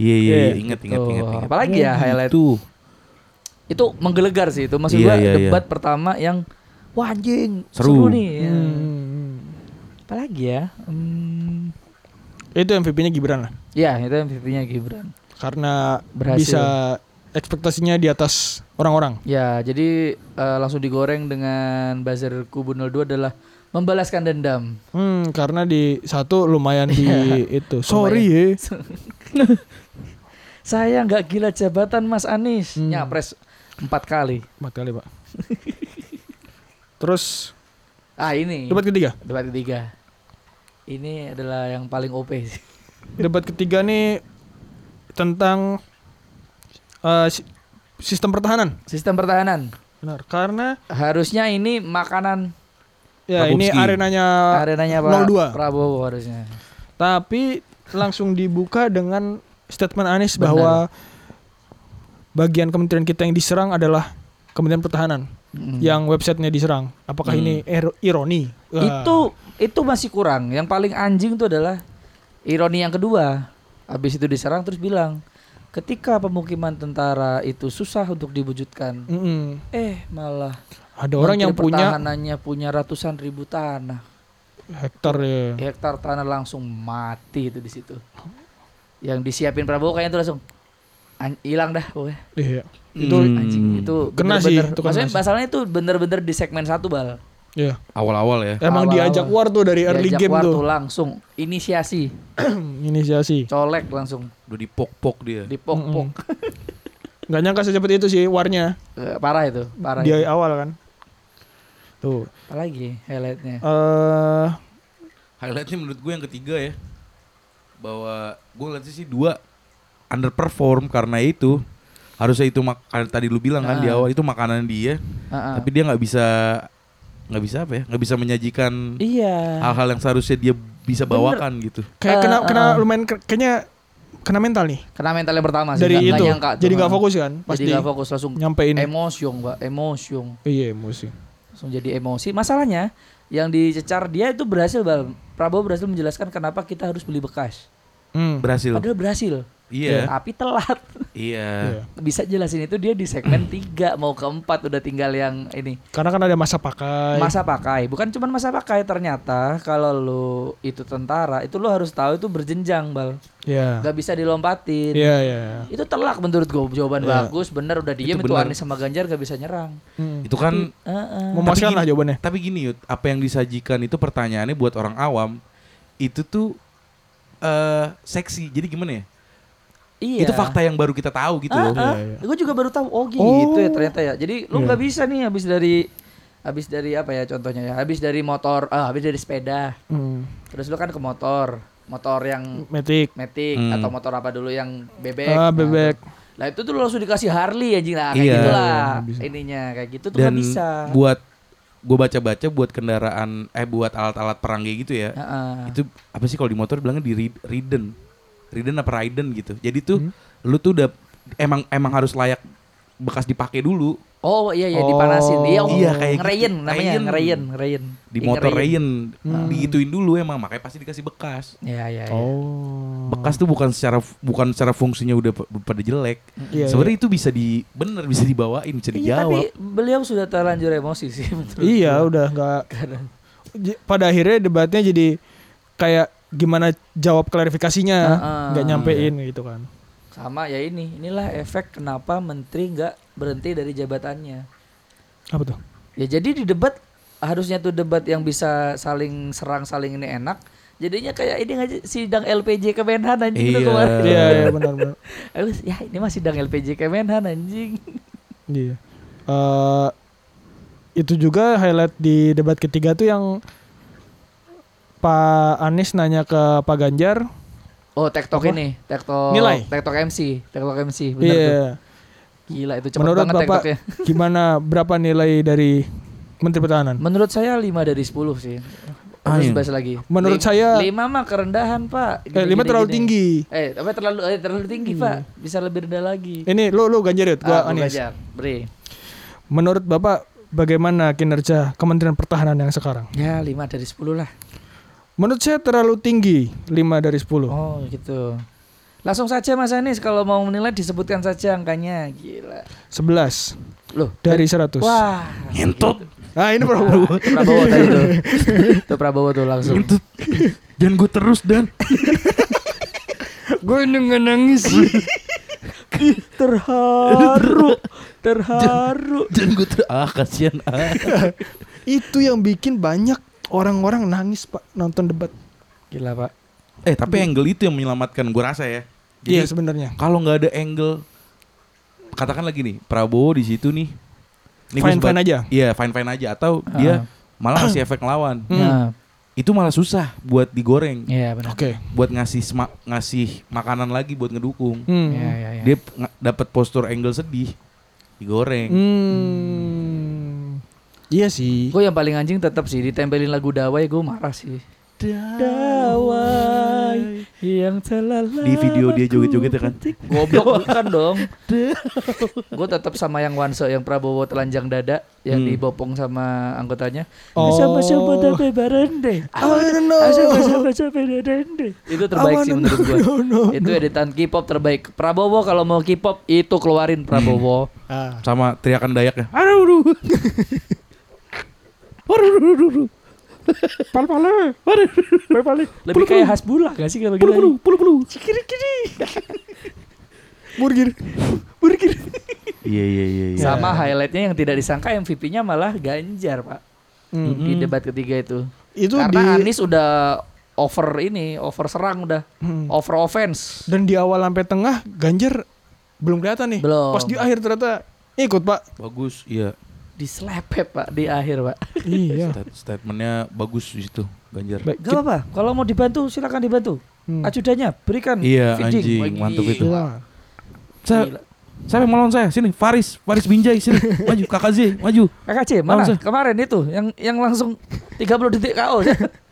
Speaker 1: Iya iya
Speaker 2: Iya,
Speaker 1: iya, ingat ingat
Speaker 3: Tuh,
Speaker 1: ingat ingat.
Speaker 3: Apalagi ya highlight
Speaker 1: Itu
Speaker 3: itu menggelegar sih itu maksud
Speaker 1: Iya,
Speaker 3: gua
Speaker 1: iya, iya.
Speaker 3: debat pertama yang wah anjing
Speaker 1: Seru.
Speaker 3: seru, nih. Ya.
Speaker 2: Hmm.
Speaker 3: Apalagi ya? Hmm,
Speaker 2: Itu MVP-nya Gibran lah.
Speaker 3: ya itu MVP-nya Gibran.
Speaker 2: Karena
Speaker 3: Berhasil.
Speaker 2: bisa ekspektasinya di atas orang-orang.
Speaker 3: Ya, jadi eh, langsung digoreng dengan buzzer kubu 02 adalah membalaskan dendam.
Speaker 2: Hmm, karena di satu lumayan di
Speaker 3: Iya.
Speaker 2: itu. Sorry ya.
Speaker 3: Saya nggak gila jabatan Mas Anies.
Speaker 2: Hmm.
Speaker 3: Nyapres empat kali.
Speaker 2: Empat kali pak. Terus
Speaker 3: Ah ini.
Speaker 2: debat ketiga.
Speaker 3: Debat ketiga. Ini adalah yang paling OP sih.
Speaker 2: Debat ketiga nih tentang eh, si- sistem pertahanan.
Speaker 3: Sistem pertahanan.
Speaker 2: Benar. Karena
Speaker 3: Harusnya ini makanan
Speaker 2: ya ini
Speaker 1: Rakowski.
Speaker 2: arenanya.
Speaker 3: Eh, arenanya Pak
Speaker 2: 02.
Speaker 3: Prabowo harusnya.
Speaker 2: Tapi langsung dibuka dengan statement Anies
Speaker 3: Benar.
Speaker 2: bahwa bagian kementerian kita yang diserang adalah Kementerian Pertahanan
Speaker 3: Mm.
Speaker 2: yang websitenya diserang. Apakah
Speaker 1: Hmm.
Speaker 2: ini ero- ironi? Wah.
Speaker 3: itu itu masih kurang. Yang paling anjing itu adalah ironi yang kedua. Habis itu diserang terus bilang, "Ketika pemukiman tentara itu susah untuk diwujudkan."
Speaker 2: Mm-mm.
Speaker 3: Eh, malah
Speaker 2: Hmm. Ada orang yang punya
Speaker 3: pertahanannya punya ratusan ribu tanah.
Speaker 2: hektar ya.
Speaker 3: Hektar tanah langsung mati itu di situ. Yang disiapin Prabowo kayaknya itu langsung an- hilang dah pokoknya.
Speaker 2: Iya.
Speaker 1: Itu
Speaker 3: Anjing itu
Speaker 2: Kena sih,
Speaker 3: bener-bener-
Speaker 2: itu kena
Speaker 3: maksudnya
Speaker 2: sih.
Speaker 3: masalahnya itu bener-bener di segmen satu bal.
Speaker 2: Iya.
Speaker 1: awal-awal ya.
Speaker 2: Emang
Speaker 3: Awal-awal.
Speaker 2: diajak war tuh dari early
Speaker 3: Diajak
Speaker 2: game
Speaker 3: war
Speaker 2: tuh.
Speaker 3: tuh langsung inisiasi,
Speaker 2: Inisiasi.
Speaker 3: colek langsung,
Speaker 1: Udah dipok-pok dia.
Speaker 3: dipok-pok.
Speaker 2: Gak nyangka secepat itu sih warnya.
Speaker 3: Eh, parah itu, parah.
Speaker 2: Di
Speaker 3: itu.
Speaker 2: awal kan. Tuh.
Speaker 3: Apalagi highlightnya.
Speaker 2: Eh
Speaker 1: Highlightnya menurut gue yang ketiga ya. Bahwa gue ngeliatnya sih dua underperform karena itu. Harusnya itu mak- karena tadi lu bilang kan di
Speaker 3: Ah.
Speaker 1: awal itu makanan dia,
Speaker 3: Ah, ah.
Speaker 1: tapi dia nggak bisa nggak bisa apa ya? nggak bisa menyajikan
Speaker 3: Iya.
Speaker 1: hal-hal yang seharusnya dia bisa
Speaker 3: Bener.
Speaker 1: bawakan gitu.
Speaker 2: kayak
Speaker 3: Eh,
Speaker 2: kena
Speaker 3: eh,
Speaker 2: kena
Speaker 3: eh.
Speaker 2: lumayan ke- kayaknya kena mental nih
Speaker 3: Kena mental yang pertama sih.
Speaker 2: dari
Speaker 3: nggak- nggak
Speaker 2: itu.
Speaker 3: nyangka tuh,
Speaker 2: jadi
Speaker 3: ah.
Speaker 2: nggak fokus kan?
Speaker 3: Jadi
Speaker 2: Pasti
Speaker 3: nggak fokus langsung
Speaker 2: nyampein.
Speaker 3: emosion, Pak. Emosion.
Speaker 2: iya emosi.
Speaker 3: langsung jadi emosi. Masalahnya yang dicecar dia itu berhasil, Bal. Prabowo berhasil menjelaskan kenapa kita harus beli bekas.
Speaker 2: Hmm.
Speaker 1: Berhasil.
Speaker 3: Padahal berhasil,
Speaker 1: Iya.
Speaker 3: tapi telat.
Speaker 1: Iya.
Speaker 2: Iya.
Speaker 3: Bisa jelasin itu dia di segmen 3 mau keempat udah tinggal yang ini
Speaker 2: Karena kan ada masa pakai.
Speaker 3: masa pakai. Bukan cuman masa pakai ternyata kalau lu itu tentara itu lu harus tahu itu berjenjang, Bal.
Speaker 2: Iya.
Speaker 3: Gak bisa dilompatin.
Speaker 2: Iya iya. iya.
Speaker 3: Itu telak menurut gue jawaban
Speaker 2: Iya.
Speaker 3: bagus bener udah diem itu,
Speaker 1: bener.
Speaker 3: Anies sama Ganjar gak bisa nyerang.
Speaker 2: Hmm.
Speaker 1: Itu kan
Speaker 3: Heeh.
Speaker 2: Memuaskan
Speaker 1: gini-
Speaker 2: lah
Speaker 3: Nah,
Speaker 2: jawabannya.
Speaker 1: Tapi gini Yud, apa yang disajikan itu pertanyaannya buat orang awam itu tuh eh seksi. Jadi gimana ya?
Speaker 3: Iya.
Speaker 1: Itu fakta yang baru kita tahu gitu loh.
Speaker 2: Iya,
Speaker 3: Ah,
Speaker 2: iya.
Speaker 3: Gue juga baru tahu oh
Speaker 2: Oh.
Speaker 3: gitu ya ternyata ya. Jadi lu
Speaker 2: Iya.
Speaker 3: nggak bisa nih habis dari habis dari apa ya contohnya ya? Habis dari motor, ah, habis dari sepeda.
Speaker 2: Hmm.
Speaker 3: Terus lu kan ke motor, motor yang
Speaker 2: Metik.
Speaker 3: metik
Speaker 1: Hmm.
Speaker 3: atau motor apa dulu yang bebek.
Speaker 2: Ah,
Speaker 3: Nah,
Speaker 2: bebek.
Speaker 3: Lah itu tuh lu langsung dikasih Harley anjing lah kayak
Speaker 1: Iya.
Speaker 3: gitulah
Speaker 2: Iya, nggak bisa.
Speaker 3: ininya kayak gitu tuh
Speaker 1: Dan
Speaker 3: nggak bisa.
Speaker 1: buat gue baca-baca buat kendaraan eh buat alat-alat perang kayak gitu ya.
Speaker 3: Heeh.
Speaker 1: Itu apa sih kalau di motor bilangnya di rid- ridden. Ridden apa ridden gitu. Jadi tuh
Speaker 3: Hmm.
Speaker 1: lu tuh udah emang emang harus layak bekas dipakai dulu
Speaker 3: Oh iya iya
Speaker 2: Oh.
Speaker 3: dipanasin. Iya, oh,
Speaker 1: Iya, kayak gitu.
Speaker 3: ngerayen namanya
Speaker 1: Rayen.
Speaker 3: ngerayen, ngerayen.
Speaker 1: di
Speaker 3: Ih,
Speaker 1: motor
Speaker 3: ngerayen.
Speaker 1: rain
Speaker 3: Hmm.
Speaker 1: digituin dulu emang makanya pasti dikasih bekas
Speaker 3: Iya iya iya.
Speaker 2: Oh.
Speaker 1: bekas tuh bukan secara bukan secara fungsinya udah p- pada jelek
Speaker 2: Iya,
Speaker 1: sebenarnya itu bisa di bener bisa dibawain bisa
Speaker 3: Iya, tapi
Speaker 1: dijawab
Speaker 3: beliau sudah terlanjur emosi sih betul.
Speaker 2: Iya udah nggak. J- Pada akhirnya debatnya jadi kayak gimana jawab klarifikasinya
Speaker 3: Ah, ah.
Speaker 2: nggak nyampein gitu kan.
Speaker 3: Sama ya ini, inilah efek kenapa menteri nggak berhenti dari jabatannya.
Speaker 2: Apa tuh?
Speaker 3: Ya jadi di debat harusnya tuh debat yang bisa saling serang saling ini enak. Jadinya kayak ini aja sidang LPJ Kemenhan anjing itu
Speaker 1: Iya.
Speaker 3: kemarin.
Speaker 2: Iya iya benar benar.
Speaker 3: Aku, ya ini masih sidang LPJ Kemenhan anjing.
Speaker 2: Iya. Eh, itu juga highlight di debat ketiga tuh yang Pak Anies nanya ke Pak Ganjar.
Speaker 3: Oh, TikTok
Speaker 2: Apa?
Speaker 3: ini, TikTok
Speaker 2: Nilai.
Speaker 3: TikTok MC, TikTok MC benar tuh.
Speaker 2: Iya.
Speaker 3: Gila itu cepet
Speaker 2: Menurut
Speaker 3: banget
Speaker 2: Bapak
Speaker 3: TikToknya.
Speaker 2: gimana berapa nilai dari Menteri Pertahanan?
Speaker 3: Menurut saya 5 dari 10 sih.
Speaker 1: Ah,
Speaker 3: Terus
Speaker 1: iya.
Speaker 3: bahas lagi.
Speaker 2: Menurut saya-
Speaker 3: 5 mah kerendahan,
Speaker 2: eh,
Speaker 3: Pak. Gini,
Speaker 2: lima
Speaker 3: gini,
Speaker 2: terlalu
Speaker 3: gini.
Speaker 2: tinggi.
Speaker 3: Eh, tapi terlalu eh, terlalu tinggi, Pak. Bisa lebih rendah lagi.
Speaker 2: Ini lu lu Ganjar Yud, gua
Speaker 3: Ah,
Speaker 2: Anies.
Speaker 3: belajar. Bre.
Speaker 2: Menurut Bapak bagaimana kinerja Kementerian Pertahanan yang sekarang?
Speaker 3: Ya, 5 dari 10 lah.
Speaker 2: Menurut saya terlalu tinggi, 5 dari 10.
Speaker 3: Oh, gitu. Langsung saja Mas Anies kalau mau menilai disebutkan saja angkanya. Gila.
Speaker 2: 11
Speaker 3: Loh,
Speaker 2: dari 100.
Speaker 3: Wah.
Speaker 1: ngentot
Speaker 2: Ah, ini Prabowo.
Speaker 3: Prabowo tadi tuh. Itu Prabowo tuh langsung.
Speaker 1: ngentot jangan gue terus dan
Speaker 2: Gue nangis.
Speaker 3: Terharu. Terharu.
Speaker 1: jangan gue terus ah kasihan ah
Speaker 2: Itu yang bikin banyak orang-orang nangis Pak nonton debat.
Speaker 3: Gila, Pak.
Speaker 1: eh tapi angle itu yang menyelamatkan gue rasa ya
Speaker 2: Iya
Speaker 1: jadi
Speaker 2: sebenarnya.
Speaker 1: kalau nggak ada angle katakan lagi nih Prabowo di situ nih Ini gua
Speaker 2: Fine-fine
Speaker 1: sempat-
Speaker 2: aja. Ah.
Speaker 1: iya fine fine aja atau dia malah ngasih efek lawan
Speaker 2: Hmm. Ya.
Speaker 3: Nah,
Speaker 1: itu malah susah buat digoreng
Speaker 3: iya benar.
Speaker 2: Oke.
Speaker 1: buat ngasih sema- ngasih makanan lagi buat ngedukung
Speaker 2: Hmm.
Speaker 3: Iya, iya, iya.
Speaker 1: dia nge- dapat postur angle sedih digoreng
Speaker 2: Hmm. Iya sih.
Speaker 3: Gue yang paling anjing tetap sih ditempelin lagu Dawai gue marah sih. Dawai yang telah
Speaker 1: Di video dia joget-joget ya kan?
Speaker 3: Goblok bukan dong. gue tetap sama yang Wanso yang Prabowo telanjang dada yang
Speaker 1: Hmm.
Speaker 3: dibopong sama anggotanya.
Speaker 2: Oh.
Speaker 3: Sama-sama tapi barende.
Speaker 2: I wanna know.
Speaker 3: Sama-sama barende. Itu terbaik sih
Speaker 2: wanna
Speaker 3: menurut gue.
Speaker 2: know, no, no.
Speaker 3: Itu editan K-pop terbaik. Prabowo kalau mau K-pop itu keluarin Prabowo.
Speaker 2: Ah.
Speaker 1: sama teriakan dayak ya
Speaker 3: Lebih kayak Hasbullah gak sih kalau gitu?
Speaker 2: burger burger
Speaker 1: Iya iya iya. iya.
Speaker 3: Sama highlightnya yang tidak disangka MVP-nya malah Ganjar pak
Speaker 2: Hmm.
Speaker 3: di debat ketiga itu.
Speaker 2: itu
Speaker 3: Karena
Speaker 2: di
Speaker 3: Anies udah over ini, over serang udah,
Speaker 2: Hmm.
Speaker 3: over offense.
Speaker 2: dan di awal sampai tengah Ganjar belum kelihatan nih
Speaker 3: Belum.
Speaker 2: pas di akhir ternyata ikut pak
Speaker 1: Bagus, iya.
Speaker 3: Dislepet pak di akhir pak.
Speaker 2: iya
Speaker 1: Stat- statementnya bagus di situ Ganjar.
Speaker 2: Baik,
Speaker 3: Gak apa-apa. Kalau mau dibantu silakan dibantu.
Speaker 2: Hmm.
Speaker 3: Ajudannya berikan.
Speaker 1: Iya
Speaker 3: feeding.
Speaker 1: anjing,
Speaker 3: Wah,
Speaker 1: mantep itu.
Speaker 2: Gila.
Speaker 1: Saya,
Speaker 3: Gila.
Speaker 1: saya mau lawan saya sini Faris, Faris Binjai sini maju Kakak Z maju.
Speaker 3: KKC mana?
Speaker 1: Langsung.
Speaker 3: Kemarin itu yang yang langsung 30 detik KO.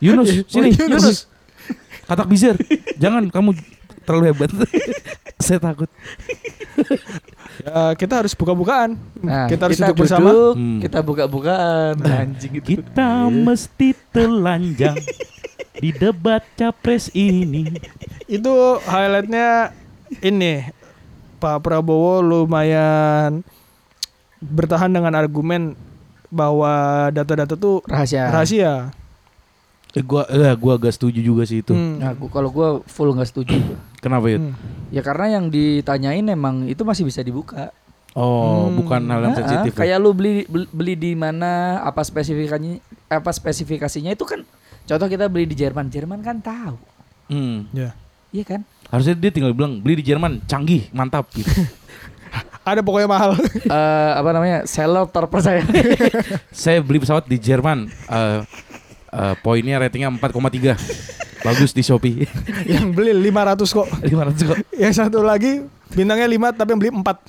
Speaker 1: Yunus sini
Speaker 2: Oh, Yunus.
Speaker 1: Yunus. Katak Bizer. Jangan kamu terlalu hebat. saya takut.
Speaker 2: Ya, kita harus buka-bukaan
Speaker 3: Nah,
Speaker 2: kita harus duduk
Speaker 3: duduk,
Speaker 2: bersama
Speaker 1: Hmm. Nah.
Speaker 3: Kita buka-bukaan. Anjing itu.
Speaker 1: Kita mesti telanjang di debat capres ini.
Speaker 2: itu highlightnya ini Pak Prabowo lumayan bertahan dengan argumen bahwa data-data tuh
Speaker 3: Rahasia.
Speaker 2: rahasia.
Speaker 1: Eh, gua eh, gua agak setuju juga sih itu.
Speaker 2: Hmm.
Speaker 3: Nah, gua- kalau gua full nggak setuju. gua.
Speaker 1: Kenapa ya?
Speaker 2: Hmm.
Speaker 3: Ya karena yang ditanyain emang itu masih bisa dibuka.
Speaker 1: Oh,
Speaker 2: Hmm.
Speaker 1: bukan hal yang
Speaker 3: Ah, ah,
Speaker 1: sensitif. ya?
Speaker 3: kayak lu beli bel- beli di mana, apa spesifikasinya, apa spesifikasinya itu kan. Contoh kita beli di Jerman, Jerman kan tahu,
Speaker 1: Hmm.
Speaker 2: Ya.
Speaker 3: iya kan?
Speaker 1: Harusnya dia tinggal bilang beli di Jerman, canggih, mantap gitu.
Speaker 2: Ada pokoknya mahal.
Speaker 3: Eh, apa namanya seller terpercaya.
Speaker 1: Saya beli pesawat di Jerman. eh, eh, poinnya ratingnya 4,3. Bagus di Shopee.
Speaker 3: Ya.
Speaker 2: yang beli 500 kok.
Speaker 1: 500 kok.
Speaker 2: Yang satu lagi bintangnya 5 tapi yang beli 4.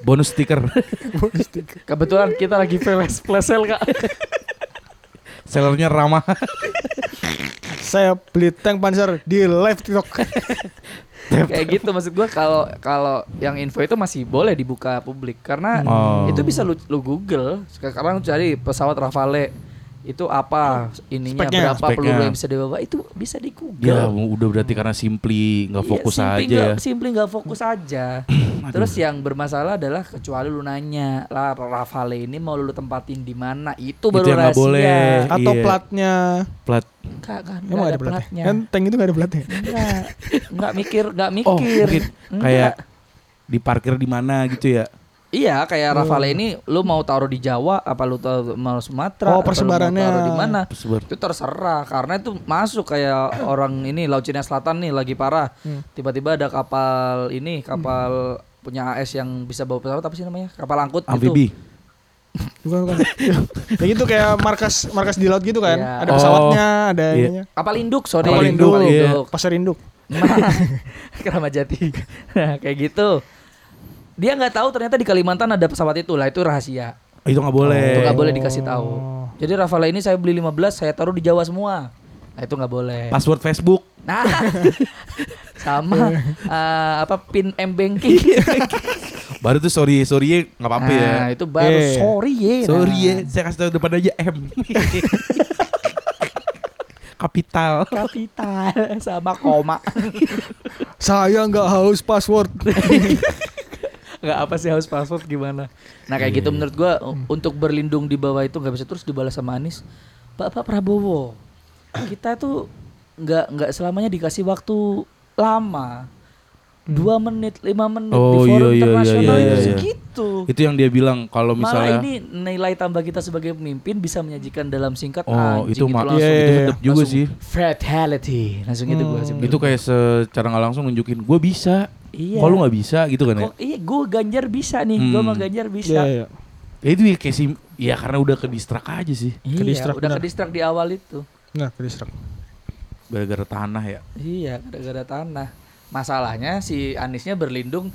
Speaker 1: Bonus stiker.
Speaker 3: Kebetulan kita lagi flash flash sale kak.
Speaker 1: Sellernya ramah.
Speaker 2: Saya beli tank panzer di live TikTok.
Speaker 3: Kayak gitu maksud gua kalau kalau yang info itu masih boleh dibuka publik karena
Speaker 1: Oh.
Speaker 3: itu bisa lu, lu Google. Sekarang cari pesawat Rafale itu apa ininya
Speaker 2: Speknya.
Speaker 3: berapa peluru
Speaker 1: Speknya.
Speaker 3: yang bisa dibawa itu bisa di Google.
Speaker 1: Ya, udah berarti karena simply nggak
Speaker 3: Iya,
Speaker 1: fokus
Speaker 3: simply
Speaker 1: aja
Speaker 3: nggak-
Speaker 1: ya.
Speaker 3: Simply nggak fokus aja. Terus yang bermasalah adalah kecuali lu nanya lah Rafale ini mau lu tempatin di mana itu
Speaker 1: Itu
Speaker 3: baru
Speaker 1: yang nggak
Speaker 3: rahasia.
Speaker 1: boleh.
Speaker 2: Atau
Speaker 1: Iya.
Speaker 2: platnya.
Speaker 1: Plat.
Speaker 3: Nggak, nggak,
Speaker 2: Emang
Speaker 3: nggak ada,
Speaker 2: ada
Speaker 1: ya?
Speaker 2: platnya?
Speaker 3: platnya.
Speaker 2: Kan tank itu gak ada platnya.
Speaker 3: Nggak, nggak mikir, nggak
Speaker 1: Oh,
Speaker 3: mikir.
Speaker 1: mungkin
Speaker 3: Nggak.
Speaker 1: kayak diparkir di mana gitu ya.
Speaker 3: iya kayak Rafale ini lu mau taruh di Jawa apa lu taruh mau Sumatera
Speaker 2: Oh,
Speaker 3: apa lu mau
Speaker 2: persebarannya.
Speaker 3: taruh di mana
Speaker 1: Tersebar.
Speaker 3: itu terserah karena itu masuk kayak orang ini laut Cina Selatan nih lagi parah
Speaker 1: Hmm.
Speaker 3: tiba-tiba ada kapal ini kapal punya AS yang bisa bawa pesawat apa sih namanya kapal angkut gitu. itu
Speaker 1: Amfibi.
Speaker 2: Bukan bukan. ya gitu kayak markas markas di laut gitu kan.
Speaker 3: Iya.
Speaker 2: Ada
Speaker 1: Oh.
Speaker 2: pesawatnya, ada
Speaker 1: Iya.
Speaker 2: ininya.
Speaker 3: kapal induk sorry
Speaker 1: Kapal induk, iya.
Speaker 2: Pasar induk.
Speaker 3: Nah, Keramat Jati Nah, kayak gitu dia nggak tahu ternyata di Kalimantan ada pesawat itu lah itu rahasia
Speaker 1: Oh, Itu nggak boleh.
Speaker 3: Oh, itu nggak boleh dikasih tahu jadi Rafale ini saya beli 15 saya taruh di Jawa semua nah, itu nggak boleh
Speaker 1: Password Facebook.
Speaker 3: Nah, sama eh, apa pin m banking.
Speaker 1: Baru tuh sorry sorry nggak apa-apa ya.
Speaker 3: nah, itu baru
Speaker 2: Eh.
Speaker 3: sorry ye. Nah,
Speaker 1: Sorry ya, saya kasih tahu depan aja M. Kapital.
Speaker 3: Kapital sama koma.
Speaker 2: Saya nggak haus password.
Speaker 3: Enggak apa sih harus password gimana. Nah, kayak
Speaker 1: Iya,
Speaker 3: gitu menurut gua u- untuk berlindung di bawah itu nggak bisa terus dibalas sama Anies. Bapak Prabowo, kita tuh nggak nggak selamanya dikasih waktu lama. Dua menit, lima menit
Speaker 1: Hmm. Oh,
Speaker 3: di forum
Speaker 1: iya, iya,
Speaker 3: internasional
Speaker 1: iya,
Speaker 3: itu
Speaker 1: iya, iya.
Speaker 3: segitu.
Speaker 1: Itu yang dia bilang kalau
Speaker 3: Malah
Speaker 1: misalnya
Speaker 3: ini nilai tambah kita sebagai pemimpin bisa menyajikan dalam singkat
Speaker 1: Oh,
Speaker 3: anjing,
Speaker 1: itu
Speaker 3: gitu
Speaker 1: mak
Speaker 3: langsung-
Speaker 2: Iya,
Speaker 1: itu
Speaker 2: iya,
Speaker 1: mendep juga
Speaker 3: langsung
Speaker 1: sih. Hmm,
Speaker 3: Fatality. Langsung gitu gua sih.
Speaker 1: Itu kayak secara nggak langsung nunjukin gue bisa.
Speaker 3: Iya.
Speaker 1: Kalau lu nggak bisa gitu kan ya.
Speaker 3: Kok, iya, gua Ganjar bisa nih, gua
Speaker 1: Hmm.
Speaker 3: sama Ganjar bisa.
Speaker 2: Iya, iya.
Speaker 1: Ya itu ya kayak sim- ya karena udah ke distrak aja sih.
Speaker 3: Iya,
Speaker 2: Kedistrak
Speaker 3: udah
Speaker 2: benar.
Speaker 3: kedistrak di awal itu.
Speaker 2: Nah, kedistrak.
Speaker 1: Gara-gara tanah ya.
Speaker 3: Iya, gara-gara tanah. Masalahnya si Anisnya berlindung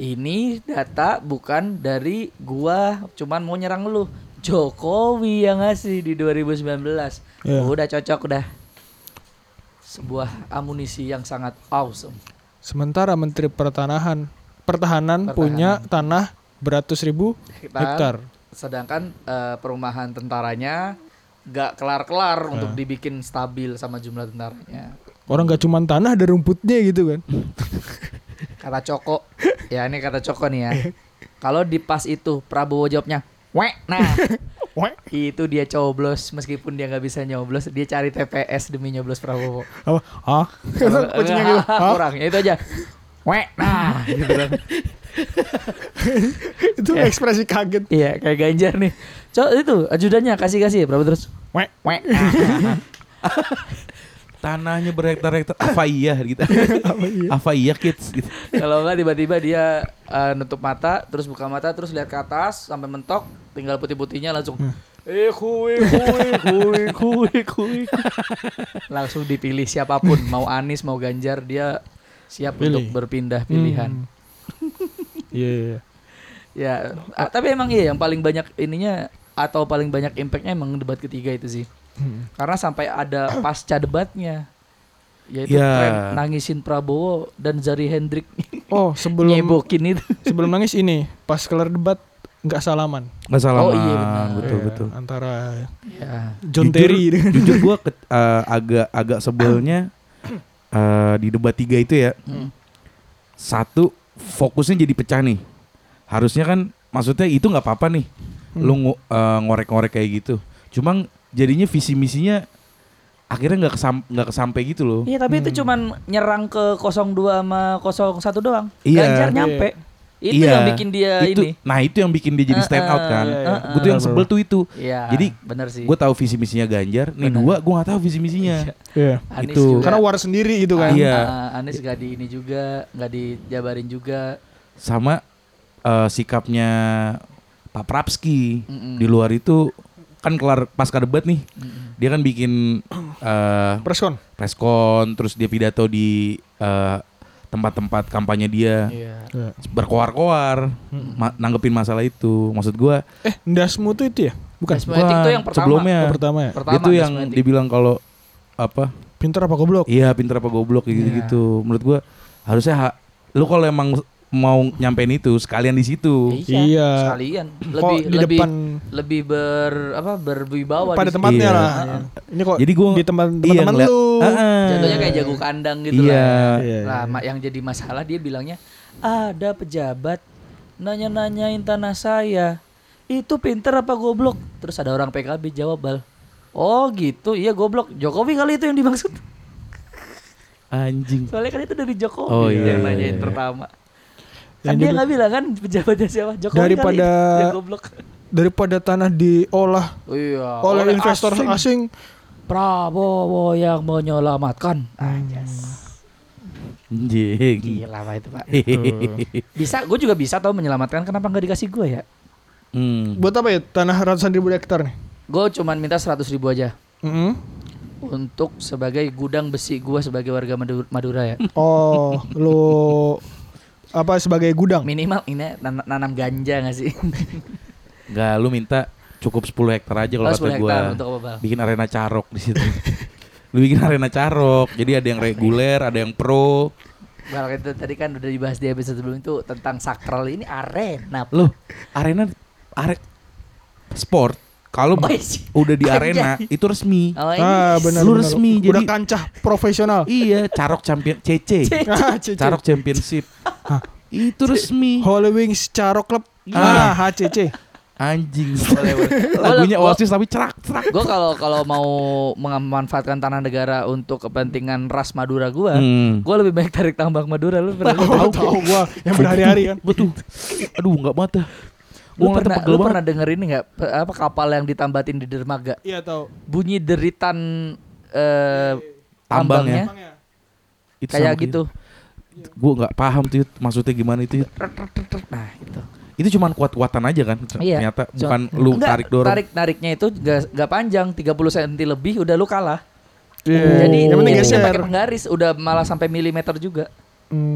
Speaker 3: ini data bukan dari gua, cuman mau nyerang lu. Jokowi yang ngasih di 2019.
Speaker 2: Iya.
Speaker 3: Udah cocok udah. Sebuah amunisi yang sangat awesome.
Speaker 2: Sementara Menteri Pertanahan Pertahanan punya tanah beratus ribu hektar.
Speaker 3: Sedangkan eh, perumahan tentaranya gak kelar-kelar
Speaker 2: Iya.
Speaker 3: untuk dibikin stabil sama jumlah tentaranya.
Speaker 2: Orang nggak cuman tanah ada rumputnya gitu kan.
Speaker 3: Kata Coko, ya ini kata Coko nih ya. Kalau di pas itu Prabowo jawabnya, weh, nah
Speaker 2: Wah,
Speaker 3: itu dia coblos meskipun dia nggak bisa nyoblos, dia cari TPS demi nyoblos Prabowo.
Speaker 2: apa? Ah,
Speaker 3: Kalau-
Speaker 2: kucingnya gitu.
Speaker 3: Kurang, ya itu aja. Weh, nah.
Speaker 1: gitu kan.
Speaker 2: itu
Speaker 3: Ya.
Speaker 2: ekspresi kaget
Speaker 3: Iya, kayak Ganjar nih. Cok itu ajudannya kasih-kasih berapa terus? Weh, weh. nah.
Speaker 1: Tanahnya berhektar-hektar apa iya gitu. apa iya kids gitu.
Speaker 3: Kalau enggak tiba-tiba dia eh, nutup mata, terus buka mata, terus lihat ke atas sampai mentok, tinggal putih-putihnya langsung eh kui kui kui kui kui. Langsung dipilih siapapun, mau Anies, mau Ganjar, dia siap
Speaker 2: Pilih.
Speaker 3: untuk berpindah pilihan.
Speaker 2: Hmm. Iya, iya, iya.
Speaker 3: Ya, ah, tapi emang iya yang paling banyak ininya atau paling banyak impactnya emang debat ketiga itu sih.
Speaker 2: Hmm.
Speaker 3: Karena sampai ada pasca debatnya yaitu
Speaker 1: Ya.
Speaker 3: tren nangisin Prabowo dan Zari Hendrik
Speaker 2: Oh, sebelum
Speaker 3: nyebokin itu.
Speaker 2: sebelum nangis ini pas kelar debat nggak salaman.
Speaker 1: Nggak salah.
Speaker 3: Oh, iya, benar.
Speaker 1: betul
Speaker 2: Iya,
Speaker 1: betul.
Speaker 2: Antara
Speaker 3: Ya.
Speaker 2: John
Speaker 1: Jujur-
Speaker 2: Terry gitu. dengan
Speaker 1: Jujur gua ket- eh, agak agak sebelnya eh, di debat tiga itu ya.
Speaker 3: Hmm.
Speaker 1: Satu fokusnya jadi pecah nih. Harusnya kan maksudnya itu nggak apa-apa nih. Lu ngo- eh, ngorek-ngorek kayak gitu. Cuma jadinya visi misinya akhirnya nggak kesam nggak kesampe gitu loh.
Speaker 3: Iya tapi itu cuman nyerang ke 02 sama 01 doang.
Speaker 1: Iya.
Speaker 3: Ganjar nyampe. Itu
Speaker 1: Iya.
Speaker 3: yang bikin dia
Speaker 1: itu,
Speaker 3: ini.
Speaker 1: Nah itu yang bikin dia jadi
Speaker 3: Eh,
Speaker 1: stand out kan.
Speaker 2: eh,
Speaker 1: Gua
Speaker 2: eh,
Speaker 1: tuh yang
Speaker 2: eh.
Speaker 1: sebel tuh itu.
Speaker 3: Iya.
Speaker 1: Jadi,
Speaker 3: benar sih.
Speaker 1: Gue tahu visi misinya Ganjar. Nih
Speaker 3: Benar.
Speaker 1: dua, gue nggak tahu visi misinya.
Speaker 3: Iya.
Speaker 2: Iya.
Speaker 3: Anies
Speaker 1: itu.
Speaker 3: juga.
Speaker 2: Karena war sendiri gitu kan.
Speaker 1: Ah, iya.
Speaker 3: Ah, Anies gak di ini juga, gak dijabarin juga.
Speaker 1: Sama eh, sikapnya Pak Prapski
Speaker 3: Mm-mm.
Speaker 1: di luar itu kan kelar pasca debat nih.
Speaker 3: Mm-mm.
Speaker 1: Dia kan bikin eh
Speaker 2: Preskon.
Speaker 1: press con, terus dia pidato di eh, tempat-tempat kampanye dia
Speaker 3: Iya.
Speaker 1: berkoar-koar ma- nanggepin masalah itu. Maksud gua
Speaker 2: Eh, Ndasmu tuh itu ya? Bukan.
Speaker 3: Ndasmu. Semetik tuh yang pertama.
Speaker 1: sebelumnya
Speaker 2: Oh, pertama ya.
Speaker 3: Pertama
Speaker 1: itu yang
Speaker 3: Desmetik.
Speaker 1: dibilang kalau apa
Speaker 2: Pintar apa goblok?
Speaker 1: Iya pinter apa goblok kayak gitu-gitu. Menurut gua harusnya ha- lu kalau emang mau nyampein itu sekalian di situ.
Speaker 2: Iya.
Speaker 3: Sekalian.
Speaker 2: Kok
Speaker 3: Lebih
Speaker 2: di
Speaker 3: lebih
Speaker 2: depan
Speaker 3: lebih ber apa berwibawa
Speaker 2: pada
Speaker 3: di situ.
Speaker 2: tempatnya
Speaker 1: Iya.
Speaker 2: lah. Ini kok
Speaker 1: Jadi gua
Speaker 2: di teman
Speaker 1: iya,
Speaker 2: teman
Speaker 1: ngeliat- ah.
Speaker 2: lu.
Speaker 1: Ah-ah.
Speaker 3: Jatuhnya kayak jago kandang gitu
Speaker 1: Eh, Iya.
Speaker 3: lah.
Speaker 2: Iya,
Speaker 3: Lah,
Speaker 2: iya.
Speaker 3: ma- yang jadi masalah dia bilangnya ada pejabat nanya-nanyain tanah saya. Itu pinter apa goblok? Terus ada orang PKB jawab bal. Oh gitu, iya goblok. Jokowi kali itu yang dimaksud.
Speaker 1: Anjing.
Speaker 3: Soalnya kan itu dari Jokowi
Speaker 1: Oh, iya,
Speaker 3: yang
Speaker 1: iya,
Speaker 3: nanyain
Speaker 1: iya.
Speaker 3: pertama.
Speaker 2: Yang
Speaker 3: Kan dia
Speaker 2: dia-
Speaker 3: nggak bilang kan pejabatnya siapa? Jokowi kali
Speaker 2: Daripada-
Speaker 3: itu yang goblok.
Speaker 2: Daripada tanah diolah
Speaker 3: Iya.
Speaker 2: oleh, investor asing.
Speaker 3: Prabowo yang menyelamatkan. Anjas.
Speaker 1: Anjing.
Speaker 3: Gila apa itu pak?
Speaker 1: Hehehe.
Speaker 3: Bisa, gue juga bisa tau menyelamatkan. Kenapa nggak dikasih gue ya?
Speaker 1: Hmm.
Speaker 2: Buat apa ya? Tanah ratusan ribu hektar nih.
Speaker 3: Gue cuman minta 100 ribu aja
Speaker 2: Mm-mm.
Speaker 3: untuk sebagai gudang besi gue sebagai warga Madu- Madura ya.
Speaker 2: Oh, lu apa sebagai gudang?
Speaker 3: Minimal ini nan- nanam ganja nggak sih?
Speaker 1: Enggak, lu minta cukup 10 hektar aja kalau
Speaker 3: Kalau
Speaker 1: kata gua.
Speaker 3: 10 Oh, hektar untuk apa Bal?
Speaker 1: Bikin arena carok di situ. lu bikin arena carok. Jadi ada yang reguler, ada yang pro.
Speaker 3: Bal itu tadi kan udah dibahas di episode sebelum itu tentang sakral ini arena. Pak.
Speaker 1: Loh, arena are sport kalau
Speaker 3: Oh, iya.
Speaker 1: udah di arena itu resmi.
Speaker 3: Oh, ini
Speaker 2: Ah, benar.
Speaker 1: Lu
Speaker 2: benar.
Speaker 1: resmi,
Speaker 2: Udah
Speaker 1: jadi-
Speaker 2: kancah profesional.
Speaker 1: Iya, Carok Champion CC.
Speaker 2: Ah, CC.
Speaker 1: Carok Championship.
Speaker 2: Hah.
Speaker 1: Itu resmi.
Speaker 2: Holy Wings Caro Club.
Speaker 1: Iya.
Speaker 2: Ah, HCC.
Speaker 1: Anjing.
Speaker 3: boleh, boleh.
Speaker 1: Lagunya
Speaker 3: Gua-
Speaker 1: Oasis tapi cerak cerak.
Speaker 3: Gue kalau kalau mau memanfaatkan tanah negara untuk kepentingan ras Madura gue,
Speaker 1: Hmm.
Speaker 3: gue lebih baik tarik tambang Madura lu pernah
Speaker 2: Tahu tahu gua yang berhari-hari kan.
Speaker 1: Betul. Aduh, enggak mata.
Speaker 3: Lu
Speaker 1: Gua ngeliatnya
Speaker 3: pernah,
Speaker 1: pegel
Speaker 3: lu
Speaker 1: banget.
Speaker 3: pernah denger ini nggak Pe- apa kapal yang ditambatin di dermaga?
Speaker 2: Iya tahu.
Speaker 3: Bunyi deritan eh,
Speaker 1: Tambangnya.
Speaker 3: tambangnya
Speaker 1: Itu ya?
Speaker 3: kayak
Speaker 1: sama
Speaker 3: gitu.
Speaker 1: kayak- Gua enggak paham tuh Yud. maksudnya gimana itu. Yud.
Speaker 3: Nah, itu.
Speaker 1: Itu cuman kuat-kuatan aja kan.
Speaker 3: Iya.
Speaker 1: Ternyata
Speaker 3: Cuma-
Speaker 1: bukan lu
Speaker 3: Enggak,
Speaker 1: tarik dorong.
Speaker 3: Tarik nariknya itu gak, gak panjang, 30 cm lebih udah lu kalah.
Speaker 1: Oh.
Speaker 3: Jadi
Speaker 2: Jadi Oh, yang penting
Speaker 3: jadinya
Speaker 2: geser.
Speaker 3: pakai penggaris udah malah sampai milimeter juga.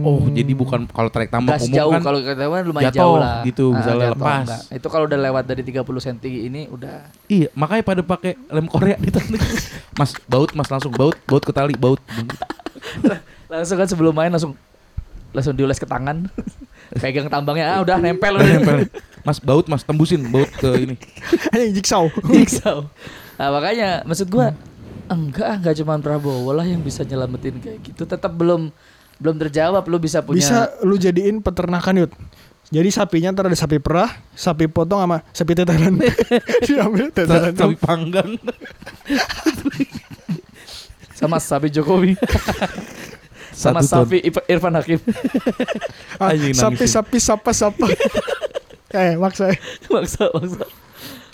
Speaker 1: Oh, jadi bukan kalau tarik tambang
Speaker 3: Gas
Speaker 1: umum
Speaker 3: jauh
Speaker 1: kan.
Speaker 3: kalau kata orang lumayan
Speaker 1: jatuh
Speaker 3: jauh lah.
Speaker 1: gitu,
Speaker 3: Ah,
Speaker 1: misalnya
Speaker 3: jatuh,
Speaker 1: lepas.
Speaker 3: enggak. Itu kalau udah lewat dari 30 cm ini udah
Speaker 1: Iya, makanya pada pakai lem Korea ditarik. mas, baut Mas langsung baut, baut ke tali, baut.
Speaker 3: langsung kan sebelum main langsung langsung dioles ke tangan. Pegang tambangnya ah udah nempel udah.
Speaker 1: Nempel. Mas baut Mas tembusin baut ke ini.
Speaker 2: Anjing jigsaw.
Speaker 3: Jigsaw. Nah, makanya maksud gua enggak ah, enggak cuma Prabowo lah yang bisa nyelamatin kayak gitu. Tetap belum belum terjawab lu bisa punya
Speaker 2: Bisa lu jadiin peternakan yud. Jadi sapinya ntar ada sapi perah, sapi potong sama sapi tetelan. Diambil tetelan.
Speaker 1: Tapi panggang.
Speaker 3: sama sapi Jokowi. sama
Speaker 1: Satu
Speaker 3: Safi Ipa- Irfan Hakim
Speaker 2: Ah,
Speaker 1: Anjing,
Speaker 2: sapi,
Speaker 1: nangisin.
Speaker 2: sapi, sapa, sapa. eh, maksa.
Speaker 3: maksa maksa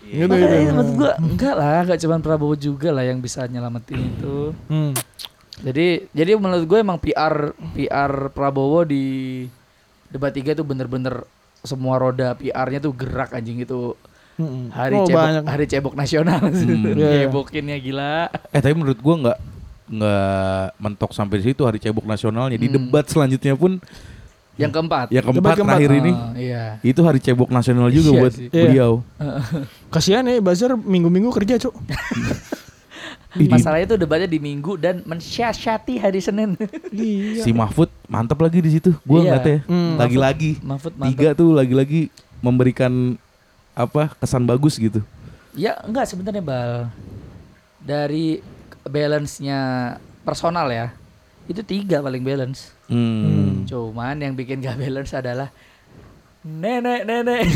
Speaker 2: Gitu,
Speaker 3: Makanya
Speaker 2: gitu.
Speaker 3: maksud gua enggak lah enggak cuma Prabowo juga lah yang bisa nyelamatin itu
Speaker 2: Hmm.
Speaker 3: jadi jadi menurut gue emang PR PR Prabowo di debat tiga tuh bener-bener semua roda PR-nya tuh gerak anjing itu
Speaker 2: Mm-mm.
Speaker 3: hari
Speaker 2: Oh,
Speaker 3: cebok
Speaker 2: banyak.
Speaker 3: hari cebok nasional
Speaker 1: Hmm.
Speaker 2: Iya, iya.
Speaker 3: Cebokinnya gila
Speaker 1: Eh tapi menurut gua nggak nggak mentok sampai di situ hari cebok nasionalnya di
Speaker 3: Hmm.
Speaker 1: debat selanjutnya pun
Speaker 3: yang keempat
Speaker 1: yang
Speaker 2: Debat
Speaker 1: keempat,
Speaker 2: keempat,
Speaker 1: terakhir ini
Speaker 3: Ah, iya
Speaker 1: itu hari cebok nasional juga
Speaker 3: Iya
Speaker 1: buat
Speaker 3: sih.
Speaker 2: Iya.
Speaker 1: beliau.
Speaker 2: Kasihan ya Bazar minggu-minggu kerja, Cuk.
Speaker 1: Ih, di-
Speaker 3: masalahnya tuh debatnya di minggu dan mensyashati hari Senin
Speaker 2: Iya.
Speaker 1: Si Mahfud mantap lagi di situ. Gua
Speaker 3: Iya.
Speaker 1: ngeliatnya ya.
Speaker 2: Hmm.
Speaker 1: Lagi-lagi
Speaker 3: Mahfud
Speaker 1: tiga
Speaker 3: mantap
Speaker 1: tuh lagi-lagi memberikan apa kesan bagus gitu.
Speaker 3: ya enggak sebenarnya bal dari balance-nya personal ya itu tiga paling balance
Speaker 1: Hmm.
Speaker 3: Cuman yang bikin gak balance adalah nenek nenek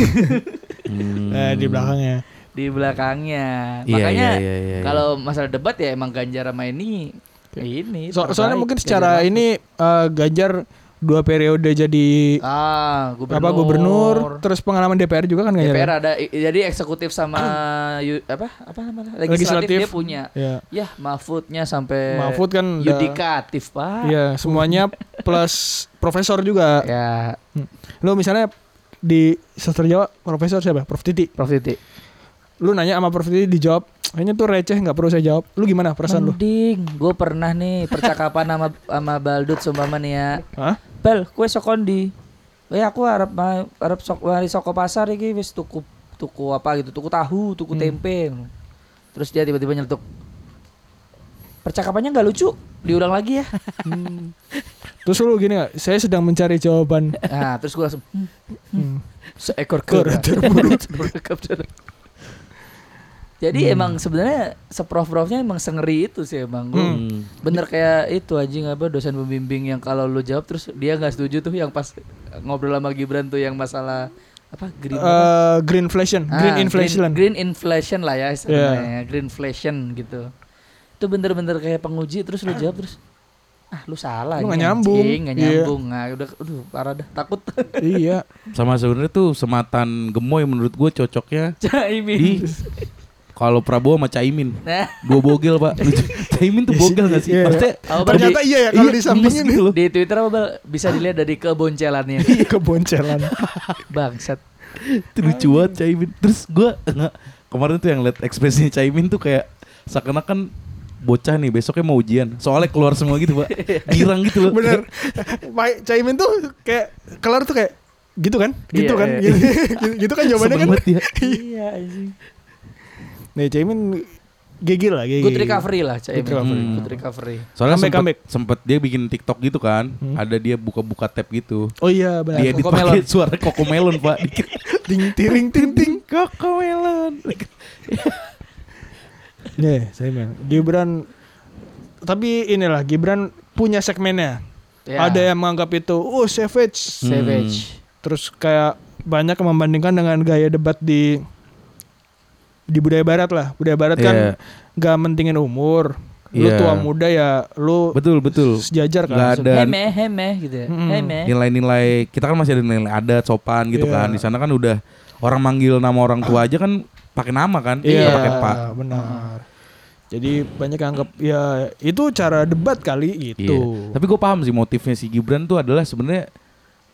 Speaker 1: Hmm.
Speaker 2: Eh, di belakangnya.
Speaker 3: di belakangnya.
Speaker 1: Iya,
Speaker 3: Makanya
Speaker 1: iya, iya, iya, iya.
Speaker 3: kalau masalah debat ya emang Ganjar sama ini ya ini.
Speaker 2: So- soalnya
Speaker 3: terbaik,
Speaker 2: mungkin
Speaker 3: Ganjar
Speaker 2: secara
Speaker 3: Mahfud.
Speaker 2: ini eh, Ganjar dua periode jadi
Speaker 3: ah gubernur,
Speaker 2: apa gubernur, terus pengalaman DPR juga kan Ganjar.
Speaker 3: DPR
Speaker 2: ya?
Speaker 3: ada i- jadi eksekutif sama yu- apa apa namanya legislatif,
Speaker 2: Legislatif.
Speaker 3: dia punya.
Speaker 2: Iya.
Speaker 3: Yah Mahfudnya sampai
Speaker 2: Mahfud kan udah-
Speaker 3: yudikatif pak.
Speaker 2: Iya, semuanya plus profesor juga. Hmm.
Speaker 3: Ya
Speaker 2: Lu misalnya di sastra Jawa profesor siapa? Prof Titi.
Speaker 3: Prof Titi.
Speaker 2: Lu nanya sama Prof Titi dijawab, kayaknya tuh receh nggak perlu saya jawab. Lu gimana perasaan lu?
Speaker 3: Mending gue pernah nih percakapan sama sama Baldut sumpama nih ya.
Speaker 2: Hah?
Speaker 3: Bel, kue sokondi. Ya aku harap ma- harap sok mari soko pasar iki wis tuku tuku apa gitu, tuku tahu, tuku tempe. Terus dia tiba-tiba nyeletuk. Percakapannya nggak lucu, diulang lagi ya.
Speaker 2: Hmm. Terus lu gini nggak? Saya sedang mencari jawaban.
Speaker 3: Nah, terus gue langsung "Hmm,
Speaker 2: Hmm.
Speaker 3: seekor
Speaker 2: Kera
Speaker 3: kera Terperangkap. Jadi emang sebenarnya seprof-profnya emang sengeri itu sih emang. Gua
Speaker 1: Hmm.
Speaker 3: Bener kayak itu anjing apa dosen pembimbing yang kalau lu jawab terus dia nggak setuju tuh yang pas ngobrol sama Gibran tuh yang masalah apa green apa?
Speaker 2: Eh, green inflation,
Speaker 3: Ah,
Speaker 2: green inflation.
Speaker 3: green, green inflation lah ya istilahnya, green inflation gitu. Itu bener-bener kayak penguji terus lu jawab terus ah lu salah
Speaker 2: Lu
Speaker 3: ini,
Speaker 2: nggak nyambung."
Speaker 3: anjing, nggak
Speaker 2: Iya.
Speaker 3: nyambung Nah, udah aduh parah dah takut
Speaker 2: iya.
Speaker 1: Sama sebenarnya tuh sematan gemoy menurut gue cocoknya di
Speaker 3: Caimin
Speaker 1: kalau Prabowo sama Caimin.
Speaker 3: nah
Speaker 1: Dua bogel pak. Lucu. Caimin tuh bogel gak sih?
Speaker 2: Iya.
Speaker 1: Maksudnya
Speaker 3: apa
Speaker 2: Ternyata
Speaker 3: di,
Speaker 2: iya ya kalau
Speaker 1: iya,
Speaker 2: disambungin
Speaker 1: gemes gitu loh.
Speaker 3: di Twitter apa Bal? bisa dilihat dari keboncelannya
Speaker 2: Iya, keboncelan.
Speaker 3: bangsat
Speaker 1: Itu lucu
Speaker 2: Iya.
Speaker 1: banget Caimin. Terus gue nggak kemarin tuh yang liat ekspresinya Caimin tuh kayak seakan-akan bocah nih besoknya mau ujian. Soalnya keluar semua gitu pak. Girang gitu loh.
Speaker 2: Bener. Pak Caimin tuh kayak kelar tuh kayak gitu kan? Gitu
Speaker 3: Iya,
Speaker 2: kan?
Speaker 3: iya.
Speaker 2: Gitu, gitu- gitu kan jawabannya
Speaker 1: Seneng
Speaker 2: kan?
Speaker 1: banget ya.
Speaker 3: iya anjing
Speaker 2: Nih Caimin gigil lah, gigil.
Speaker 3: Good recovery lah Caimin.
Speaker 2: Good recovery.
Speaker 3: Hmm. Good recovery.
Speaker 1: Soalnya
Speaker 2: Comeback,
Speaker 1: sempet,
Speaker 2: comeback.
Speaker 1: sempet dia bikin TikTok gitu kan.
Speaker 2: Hmm.
Speaker 1: Ada dia buka-buka tab gitu.
Speaker 2: Oh iya benar.
Speaker 1: Dia edit
Speaker 3: Cocomelon.
Speaker 1: pakai suara kokomelon pak. Dikit.
Speaker 2: Ting tiring ting ting.
Speaker 1: Kokomelon.
Speaker 2: Nih, Caimin. Gibran tapi inilah Gibran punya segmennya.
Speaker 3: Ya.
Speaker 2: Ada yang menganggap itu oh savage.
Speaker 3: Savage.
Speaker 2: Terus kayak banyak yang membandingkan dengan gaya debat di di budaya barat lah. Budaya barat kan
Speaker 1: Iya.
Speaker 2: gak mentingin umur. Lu
Speaker 1: Iya.
Speaker 2: tua muda ya lu
Speaker 1: Betul betul.
Speaker 2: sejajar kan.
Speaker 1: Nggak
Speaker 2: langsung.
Speaker 1: Dan-
Speaker 3: heme heme gitu ya.
Speaker 2: Mm-mm.
Speaker 3: Heme.
Speaker 1: Nilai-nilai kita kan masih ada nilai adat sopan gitu
Speaker 2: Iya.
Speaker 1: kan. Di sana kan udah orang manggil nama orang tua aja kan pakai nama kan.
Speaker 2: Iya,
Speaker 1: Nggak pakai pak.
Speaker 2: benar. Jadi banyak yang anggap ya itu cara debat kali
Speaker 1: Iya.
Speaker 2: gitu.
Speaker 1: Tapi gue paham sih motifnya si Gibran tuh adalah sebenarnya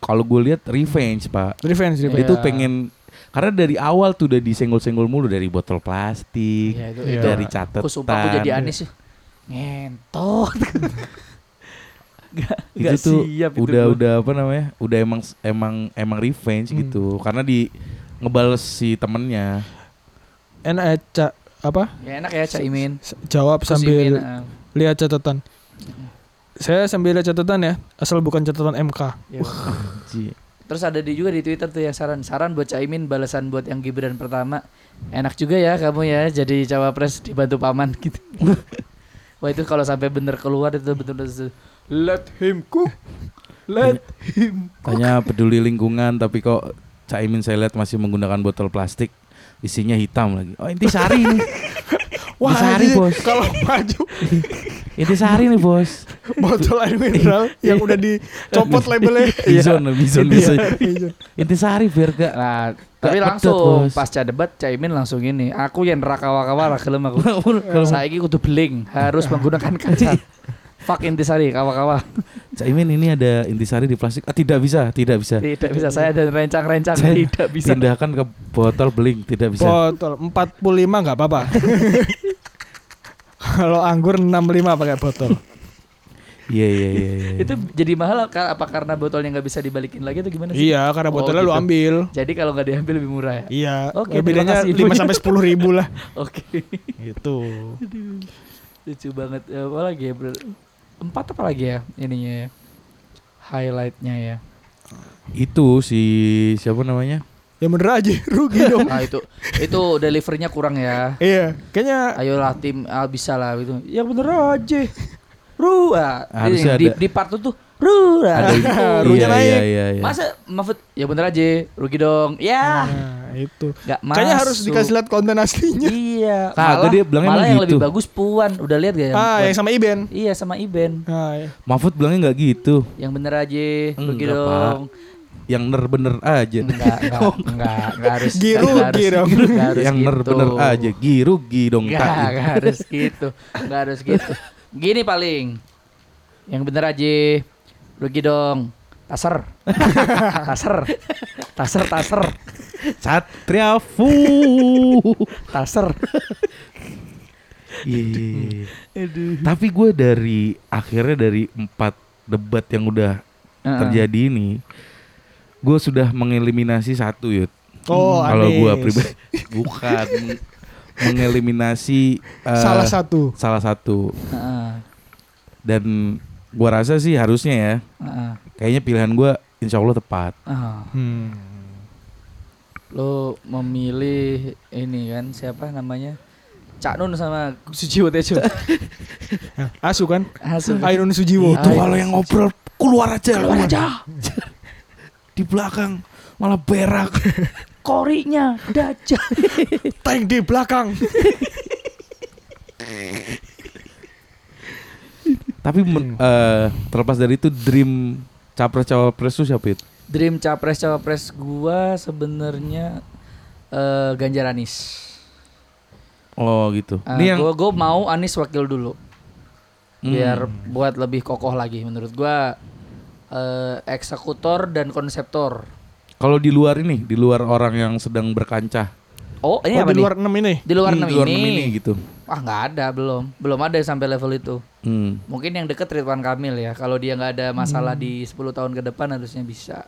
Speaker 1: kalau gue lihat revenge pak.
Speaker 2: Revenge,
Speaker 1: Dia
Speaker 2: revenge.
Speaker 1: tuh
Speaker 3: Iya.
Speaker 1: pengen karena dari awal tuh udah disenggol-senggol mulu dari botol plastik,
Speaker 3: Iya, itu-
Speaker 2: Iya.
Speaker 1: dari
Speaker 3: Aku
Speaker 1: catatan.
Speaker 3: sumpah aku jadi Anis tuh. Ngentot. gak,
Speaker 1: itu
Speaker 3: gak
Speaker 1: tuh
Speaker 3: siap itu
Speaker 1: udah
Speaker 3: gua.
Speaker 1: udah apa namanya? Udah emang emang emang revenge
Speaker 2: Hmm.
Speaker 1: gitu. Karena di ngebales si temennya.
Speaker 2: Enak ya, Ca- apa?
Speaker 3: Ya, enak ya Caimin.
Speaker 2: S- Jawab
Speaker 3: Terus Imin,
Speaker 2: sambil
Speaker 3: ah.
Speaker 2: lihat catatan. Saya sambil lihat catatan ya, asal bukan catatan MK.
Speaker 3: Ya. Terus ada di juga di Twitter tuh yang saran saran buat Caimin balasan buat yang Gibran pertama. Enak juga ya kamu ya jadi cawapres dibantu paman gitu. Wah itu kalau sampai bener keluar itu betul-betul let him cook. Let him
Speaker 1: Tanya peduli lingkungan tapi kok Caimin saya lihat masih menggunakan botol plastik. isinya hitam lagi. Oh intisari nih,
Speaker 2: Wah,
Speaker 1: Sehari,
Speaker 2: anjing,
Speaker 1: Bos.
Speaker 2: kalau maju
Speaker 1: intisari nih bos.
Speaker 2: botol air mineral yang udah dicopot labelnya.
Speaker 1: Bison, bison, bison.
Speaker 2: Iya.
Speaker 1: Intisari Virga. Nah,
Speaker 3: Tapi
Speaker 1: gak
Speaker 3: langsung
Speaker 1: pedot, Bos.
Speaker 3: pasca debat Caimin langsung ini. Aku yang rakawa-kawa kelem aku.
Speaker 1: Kalau
Speaker 3: Saya ini kudu beling, harus menggunakan kaca. Fuck intisari kawa-kawa.
Speaker 1: Caimin ini ada intisari di plastik. Ah, tidak bisa, tidak bisa.
Speaker 3: Tidak bisa saya dan rencang-rencang
Speaker 1: Saya
Speaker 3: tidak bisa.
Speaker 1: Pindahkan ke botol beling, tidak bisa.
Speaker 2: Botol 45 nggak apa-apa. Kalau anggur 65 pakai botol.
Speaker 1: Iya, iya, iya. iya.
Speaker 3: Itu jadi mahal ka- apa karena botolnya nggak bisa dibalikin lagi atau gimana sih?
Speaker 2: iya, karena
Speaker 3: Oh,
Speaker 2: botolnya lu
Speaker 3: gitu.
Speaker 2: ambil.
Speaker 3: Jadi kalau nggak diambil lebih murah ya.
Speaker 2: Iya,
Speaker 3: Oke,
Speaker 2: ya
Speaker 3: terima
Speaker 2: bedanya
Speaker 3: kasih
Speaker 2: 5
Speaker 3: infonya.
Speaker 2: sampai 10 ribu lah.
Speaker 3: Oke.
Speaker 2: Gitu.
Speaker 3: Lucu banget. Eh, Apa lagi ya, Bro? Empat apa lagi ya ininya ya? Highlightnya ya.
Speaker 1: Itu si siapa namanya?
Speaker 2: Ya bener aja, rugi dong.
Speaker 3: Nah itu itu deliverynya kurang ya.
Speaker 2: iya, kayaknya
Speaker 3: Ayolah tim ah, bisa lah gitu. Ya bener aja. Rua. Di,
Speaker 1: Harusnya
Speaker 3: di,
Speaker 1: ada-
Speaker 3: di part itu Rua.
Speaker 1: Ada
Speaker 3: gitu.
Speaker 2: Ruhnya
Speaker 1: iya,
Speaker 2: naik.
Speaker 1: Iya, iya, iya.
Speaker 3: Masa Mahfud ya bener aja rugi dong. Ya.
Speaker 2: nah, itu.
Speaker 3: Gak masuk.
Speaker 2: Kayaknya harus dikasih lihat konten aslinya.
Speaker 3: Iya.
Speaker 1: Kagak, dia bilangnya
Speaker 3: malah
Speaker 1: emang
Speaker 3: yang
Speaker 1: gitu.
Speaker 3: lebih bagus Puan. Udah lihat gak yang
Speaker 2: Ah,
Speaker 3: Puan?
Speaker 2: yang sama Iben.
Speaker 3: Iya sama Iben.
Speaker 2: Nah, iya.
Speaker 1: Mahfud bilangnya nggak gitu.
Speaker 3: Yang bener aja rugi
Speaker 1: Enggak,
Speaker 3: dong.
Speaker 1: Yang ner bener aja.
Speaker 3: Enggak, enggak, enggak, enggak harus.
Speaker 2: Giru,
Speaker 3: enggak harus-
Speaker 2: giru.
Speaker 3: enggak harus
Speaker 1: yang ner
Speaker 3: gitu.
Speaker 1: bener aja. Girugi dong.
Speaker 3: Enggak,
Speaker 1: tak.
Speaker 3: enggak harus gitu. Enggak harus gitu. Gini paling. Yang bener aja. Rugi dong. Taser. taser. Taser, taser.
Speaker 1: Satria Fu.
Speaker 3: Taser.
Speaker 1: Iya. Tapi gue dari akhirnya dari empat debat yang udah
Speaker 3: Heeh.
Speaker 1: terjadi ini, gue sudah mengeliminasi satu yud.
Speaker 2: Oh,
Speaker 1: Hmm, Kalau gue
Speaker 2: Anies.
Speaker 1: pribadi bukan meng- mengeliminasi eh,
Speaker 2: Salah satu.
Speaker 1: salah satu
Speaker 3: Heeh,
Speaker 1: dan gue rasa sih harusnya ya
Speaker 3: heeh,
Speaker 1: kayaknya pilihan gue insya Allah tepat.
Speaker 3: heeh.
Speaker 2: Hmm.
Speaker 3: Lo memilih ini kan siapa namanya? Cak Nun sama Sujiwo Tejo.
Speaker 2: Asu kan?
Speaker 3: Asu.
Speaker 2: Ainun Sujiwo.
Speaker 3: Itu kalau
Speaker 1: yang ngobrol keluar aja,
Speaker 3: Keluar aja.
Speaker 1: di belakang malah berak.
Speaker 3: Korinya dajah.
Speaker 2: Tank di belakang.
Speaker 1: Tapi men- eh, terlepas dari itu dream capres cawapres tuh siapa itu?
Speaker 3: Dream capres cawapres gua sebenarnya eh Ganjar Anis.
Speaker 1: Oh gitu.
Speaker 3: Eh,
Speaker 1: Ini yang
Speaker 3: gua gua mau Anis wakil dulu
Speaker 1: Hmm.
Speaker 3: biar buat lebih kokoh lagi menurut gua eh eksekutor dan konseptor.
Speaker 1: kalau di luar ini, di luar orang yang sedang berkancah.
Speaker 3: Oh, ini
Speaker 2: Oh,
Speaker 3: apa
Speaker 2: di
Speaker 3: nih?
Speaker 2: luar 6 ini.
Speaker 3: Di luar
Speaker 1: Hmm,
Speaker 3: enam
Speaker 1: di luar
Speaker 3: ini.
Speaker 1: enam ini gitu.
Speaker 3: Ah, nggak ada belum. Belum ada sampai level itu.
Speaker 1: Hmm.
Speaker 3: Mungkin yang deket Ridwan Kamil ya. Kalau dia nggak ada masalah di 10 tahun ke depan harusnya bisa.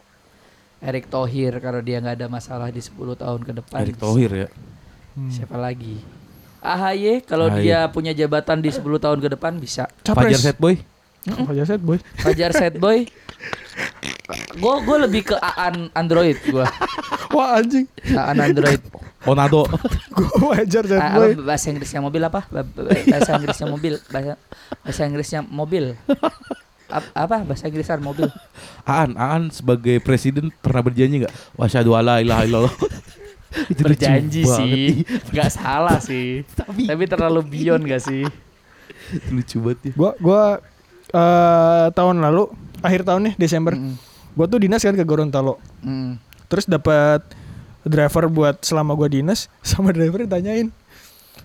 Speaker 3: Erick Thohir kalau dia nggak ada masalah di 10 tahun ke depan.
Speaker 1: Erick Thohir ya.
Speaker 3: Siapa lagi? AHY kalau
Speaker 1: AHY.
Speaker 3: dia punya jabatan di 10 tahun ke depan bisa.
Speaker 1: Fajar
Speaker 2: Capres.
Speaker 1: Set Boy.
Speaker 2: Fajar set, boy.
Speaker 3: Fajar Set Boy. Gue gue lebih ke Aan Android gue.
Speaker 2: Wah, anjing.
Speaker 3: Aan Android.
Speaker 1: Onado.
Speaker 2: Gua wajar set,
Speaker 3: Ah,
Speaker 2: boy.
Speaker 3: apa bahasa Inggrisnya mobil apa? Ba- ba- Bahasa Inggrisnya mobil. Bahasa, bahasa Inggrisnya mobil. Ap- apa bahasa Inggrisnya mobil?
Speaker 1: Aan, Aan sebagai presiden pernah berjanji nggak? Wasyhadu alla ilaha illallah. Itu lucu
Speaker 3: Berjanji
Speaker 1: banget.
Speaker 3: sih. Nggak salah sih. Tapi, terlalu beyond gak sih?
Speaker 1: Ih, Lucu banget ya.
Speaker 2: Gua gua eh, tahun lalu akhir tahun nih Desember.
Speaker 3: Mm-mm.
Speaker 2: Gua tuh dinas kan ke Gorontalo.
Speaker 3: Mm.
Speaker 2: Terus dapat driver buat selama gua dinas sama driver tanyain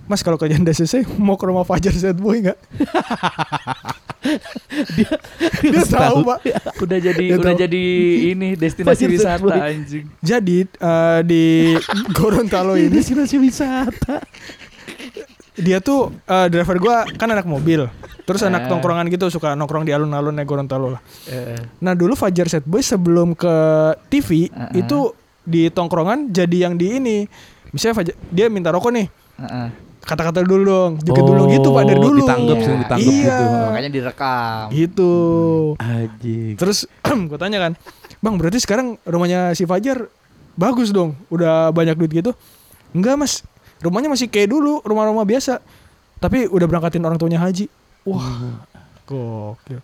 Speaker 2: Mas kalau kerjaan udah selesai mau ke rumah Fajar set boy nggak? dia, tahu pak.
Speaker 3: Udah jadi
Speaker 2: Ya,
Speaker 3: udah
Speaker 2: tahu.
Speaker 3: jadi ini destinasi
Speaker 1: Fajar Set
Speaker 3: wisata
Speaker 1: Boy.
Speaker 3: anjing.
Speaker 2: Jadi eh, di Gorontalo ini
Speaker 1: destinasi wisata.
Speaker 2: dia tuh eh, driver gua kan anak mobil. Terus
Speaker 3: Eh.
Speaker 2: anak tongkrongan gitu suka nongkrong di alun-alun Gorontalo lah.
Speaker 3: Eh,
Speaker 2: Nah dulu Fajar Set Boy sebelum ke TV
Speaker 3: Heeh.
Speaker 2: itu di tongkrongan jadi yang di ini. Misalnya Fajar, dia minta rokok nih.
Speaker 3: eh.
Speaker 2: Kata-kata dulu dong, dikit dulu gitu Pak dari dulu.
Speaker 1: Ditanggap, sering
Speaker 3: Iya.
Speaker 1: ditanggap
Speaker 2: Iya.
Speaker 1: gitu.
Speaker 3: Makanya direkam.
Speaker 2: Gitu.
Speaker 1: Anjing.
Speaker 2: Terus gue tanya kan, Bang berarti sekarang rumahnya si Fajar bagus dong, udah banyak duit gitu. Enggak mas, rumahnya masih kayak dulu, rumah-rumah biasa. Tapi udah berangkatin orang tuanya haji. Wah, gokil.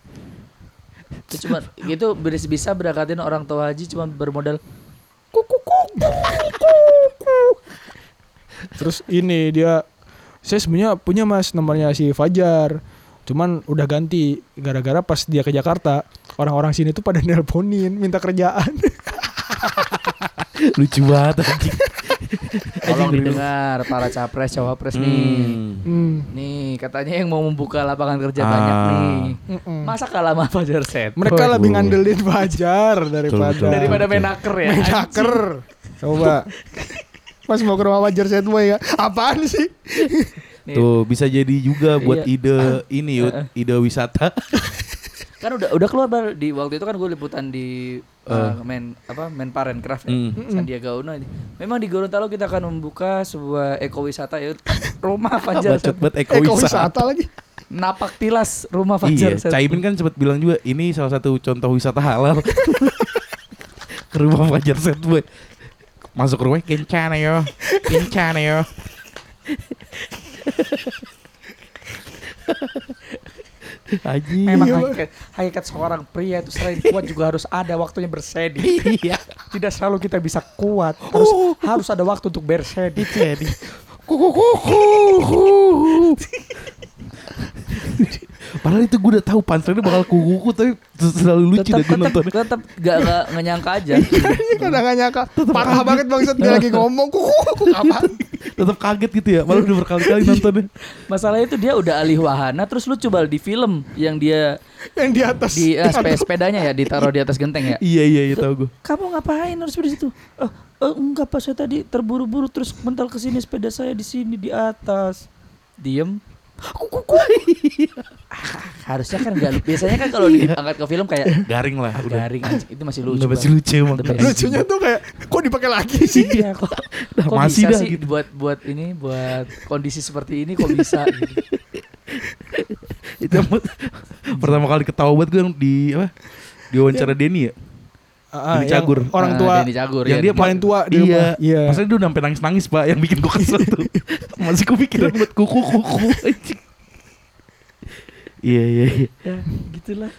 Speaker 3: Itu cuma itu beres- bisa berangkatin orang tua haji cuma bermodal
Speaker 2: terus ini dia saya sebenarnya punya mas nomornya si Fajar cuman udah ganti gara-gara pas dia ke Jakarta orang-orang sini tuh pada nelponin minta kerjaan
Speaker 1: Lucu banget anjing.
Speaker 3: Tolong didengar para capres cawapres nih.
Speaker 1: Hmm.
Speaker 2: Hmm.
Speaker 3: Nih katanya yang mau membuka lapangan kerja banyak
Speaker 1: Ah.
Speaker 3: nih.
Speaker 2: Mm-mm.
Speaker 3: Masa kalah sama Fajar Set?
Speaker 2: mereka
Speaker 1: Betul.
Speaker 2: lebih ngandelin Fajar daripada
Speaker 1: betul, betul.
Speaker 3: Daripada main naker ya.
Speaker 2: Main hacker. Coba. Mas mau ke rumah Fajar Setboy ya? Apaan sih?
Speaker 3: Nih,
Speaker 1: Tuh bisa jadi juga buat
Speaker 3: Iya. ah.
Speaker 1: ide ini yuk, ide wisata.
Speaker 3: Kan udah udah keluar Bar. di waktu itu kan gue liputan di
Speaker 1: Eh.
Speaker 3: uh, men apa men Parencraft ya.
Speaker 1: Mm.
Speaker 3: Sandiaga Uno ini. Memang di Gorontalo kita akan membuka sebuah ekowisata ya rumah Fajar
Speaker 1: Bacot
Speaker 3: Set.
Speaker 1: buat
Speaker 2: Eko
Speaker 1: ekowisata.
Speaker 2: wisata lagi.
Speaker 3: Napak tilas rumah Fajar
Speaker 1: Iya,
Speaker 3: Set.
Speaker 1: Caimin kan sempat bilang juga ini salah satu contoh wisata halal. ke rumah Fajar Setboy. Masuk ke rumahnya kencan yo, kencan yo. Aji.
Speaker 3: Memang hakikat, hakikat seorang pria itu selain kuat juga harus ada waktunya bersedih.
Speaker 1: Iya.
Speaker 3: Tidak selalu kita bisa kuat, harus harus ada waktu untuk bersedih.
Speaker 1: Jadi kuku kuku. Padahal itu gue udah tahu panselnya bakal kuku tapi selalu lucu dan
Speaker 3: tetap
Speaker 1: gue
Speaker 3: tetap
Speaker 1: nonton.
Speaker 3: tetap gak, gak nyangka aja.
Speaker 2: Ini kadang nggak nyangka. Parah banget bangsat dia lagi ngomong. Kuku. Apaan?
Speaker 1: Tetap kaget gitu ya, malah udah
Speaker 3: Iya.
Speaker 1: berkali-kali nontonnya.
Speaker 3: Masalahnya itu dia udah alih wahana terus lu coba di film yang dia
Speaker 2: Yang di atas.
Speaker 3: di eh, spe- sepedanya ya ditaruh di atas genteng ya.
Speaker 1: Iya iya iya tahu gue.
Speaker 3: Kamu ngapain harus di situ? Eh, eh, enggak pas saya tadi terburu-buru terus mental ke sini sepeda saya di sini di atas. Diem. Kuk, kuk, kuk. Ah, Harusnya kan enggak biasanya kan kalau diangkat ke film kayak
Speaker 1: Garing lah udah.
Speaker 3: garing anjing itu masih lucu.
Speaker 1: Udah pasti
Speaker 3: Bang.
Speaker 1: lucu emang.
Speaker 3: The best.
Speaker 2: Lucunya tuh kayak kok dipakai lagi sih?
Speaker 3: Iya kok. kok
Speaker 1: masih
Speaker 3: bisa
Speaker 1: dah
Speaker 3: sih
Speaker 1: gitu.
Speaker 3: buat buat ini buat kondisi seperti ini kok bisa gitu.
Speaker 1: Itu yang buat- pertama kali ketawa banget gue di apa? Di wawancara Denny ya.
Speaker 2: Ah, ah,
Speaker 1: Ini cagur.
Speaker 2: yang Orang
Speaker 3: Nah,
Speaker 2: tua.
Speaker 3: Denny Cagur
Speaker 1: Yang
Speaker 3: ya.
Speaker 1: dia
Speaker 2: Paling tua
Speaker 1: iya.
Speaker 2: di rumah. Iya.
Speaker 1: Maksudnya dia udah sampai nangis-nangis, Pak, yang bikin gue kesel tuh. Masih kepikiran buat kuku-kuku anjing. Iya iya iya.
Speaker 3: Ya, gitulah.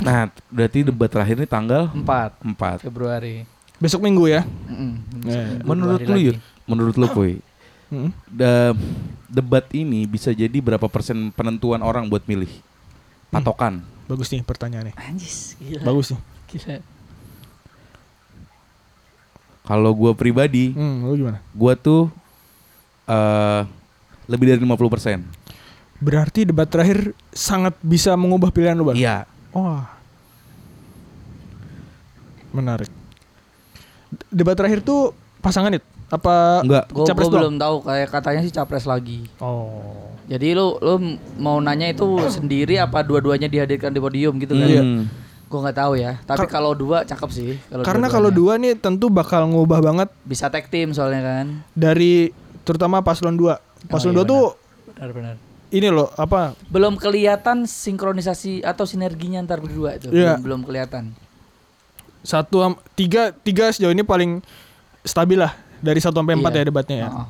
Speaker 1: Nah, berarti debat terakhir ini tanggal
Speaker 3: 4
Speaker 1: 4.
Speaker 3: Februari.
Speaker 2: Besok minggu ya.
Speaker 3: Mm-mm.
Speaker 2: Eh,
Speaker 3: Dua
Speaker 1: Menurut
Speaker 3: hari
Speaker 1: lu,
Speaker 3: lagi.
Speaker 1: Yud, menurut lu, Puy,
Speaker 2: Mm.
Speaker 1: da- debat ini bisa jadi berapa persen penentuan orang buat milih? Patokan.
Speaker 2: Bagus nih pertanyaannya.
Speaker 3: Anjis, gila.
Speaker 2: Bagus nih.
Speaker 3: Gila.
Speaker 1: Kalau gue pribadi,
Speaker 2: Hmm, lu gimana?
Speaker 1: gue tuh eh lebih dari 50 persen.
Speaker 2: Berarti debat terakhir sangat bisa mengubah pilihan lu, Bang.
Speaker 1: Iya.
Speaker 2: Wah. Menarik. D- Debat terakhir tuh pasangan itu apa
Speaker 1: Enggak.
Speaker 3: Gua,
Speaker 2: Capres
Speaker 3: gua
Speaker 2: doang?
Speaker 3: belum tahu kayak katanya sih capres lagi.
Speaker 2: Oh.
Speaker 3: Jadi lu lu m- mau nanya itu sendiri apa dua-duanya dihadirkan di podium gitu kan?
Speaker 2: Iya.
Speaker 1: Hmm.
Speaker 3: Gua nggak tahu ya. Tapi kalau dua cakep sih. Kalau
Speaker 2: Karena
Speaker 3: dua-duanya.
Speaker 2: kalau dua nih tentu bakal ngubah banget
Speaker 3: bisa tag team soalnya kan.
Speaker 2: dari terutama paslon 2. Paslon
Speaker 3: iya,
Speaker 2: 2 tuh
Speaker 3: Benar-benar.
Speaker 2: ini loh apa
Speaker 3: Belum kelihatan sinkronisasi atau sinerginya antar berdua itu.
Speaker 2: Iya.
Speaker 3: Belum, belum kelihatan.
Speaker 2: satu am- tiga tiga sejauh ini paling stabil lah dari satu sampai empat
Speaker 3: Iya.
Speaker 2: ya debatnya ya.
Speaker 3: Oh.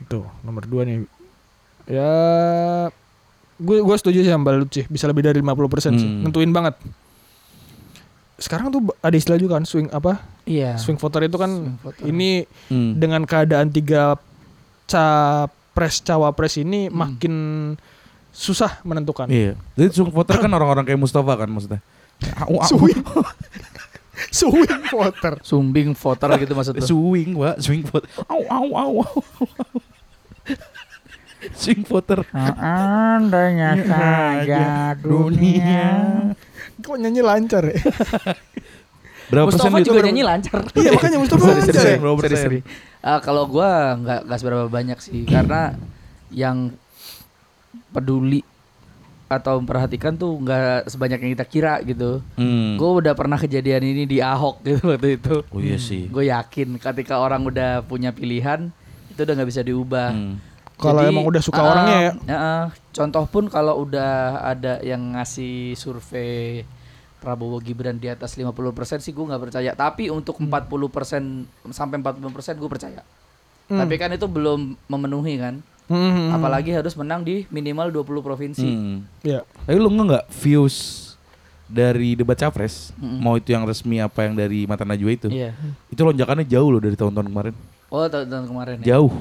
Speaker 2: Itu nomor dua nih. Ya gue gue setuju sih sama Balut sih bisa lebih dari 50% sih
Speaker 1: Hmm.
Speaker 2: nentuin banget. Sekarang tuh ada istilah juga kan swing apa
Speaker 3: Iya.
Speaker 2: swing voter itu kan
Speaker 3: Swing voter.
Speaker 2: ini
Speaker 1: Ya. Hmm.
Speaker 2: dengan keadaan tiga capres cawapres ini
Speaker 3: Hmm.
Speaker 2: makin susah menentukan.
Speaker 1: Iya. Jadi swing voter kan orang-orang kayak Mustafa kan maksudnya. Au, au.
Speaker 2: Swing. swing voter.
Speaker 3: Sumbing voter gitu maksud lu.
Speaker 1: Swing, Pak. Swing voter. Au au au. au. swing voter.
Speaker 5: Andainya saja dunia
Speaker 2: Kok nyanyi lancar ya?
Speaker 1: Berapa persen gitu?
Speaker 3: Mustafa
Speaker 1: itu?
Speaker 3: juga nyanyi lancar.
Speaker 2: iya makanya Mustafa
Speaker 1: Sorry,
Speaker 2: lancar
Speaker 1: sorry,
Speaker 2: ya.
Speaker 1: berapa persen?
Speaker 3: Ah, kalau gua nggak nggak seberapa banyak sih karena yang peduli atau memperhatikan tuh nggak sebanyak yang kita kira gitu.
Speaker 1: Hmm.
Speaker 3: Gue udah pernah kejadian ini di Ahok gitu waktu itu.
Speaker 1: Oh iya sih.
Speaker 3: Gue yakin ketika orang udah punya pilihan itu udah nggak bisa diubah.
Speaker 1: Hmm.
Speaker 2: Kalau
Speaker 3: Jadi,
Speaker 2: emang udah suka
Speaker 3: ah,
Speaker 2: orangnya ya.
Speaker 3: ah, ah. contoh pun kalau udah ada yang ngasih survei Prabowo Gibran di atas 50% sih gue nggak percaya. Tapi untuk 40% sampai 40% gue percaya.
Speaker 2: Hmm.
Speaker 3: Tapi kan itu belum memenuhi kan.
Speaker 2: Hmm.
Speaker 3: Apalagi harus menang di minimal 20 provinsi.
Speaker 1: Hmm.
Speaker 2: Iya.
Speaker 1: Tapi lu enggak nggak views dari debat capres,
Speaker 3: Mm-mm.
Speaker 1: mau itu yang resmi apa yang dari Mata Najwa itu,
Speaker 3: Hmm. Iya.
Speaker 1: itu lonjakannya jauh loh dari tahun-tahun kemarin.
Speaker 3: Oh, tahun tahun kemarin ya.
Speaker 1: Jauh.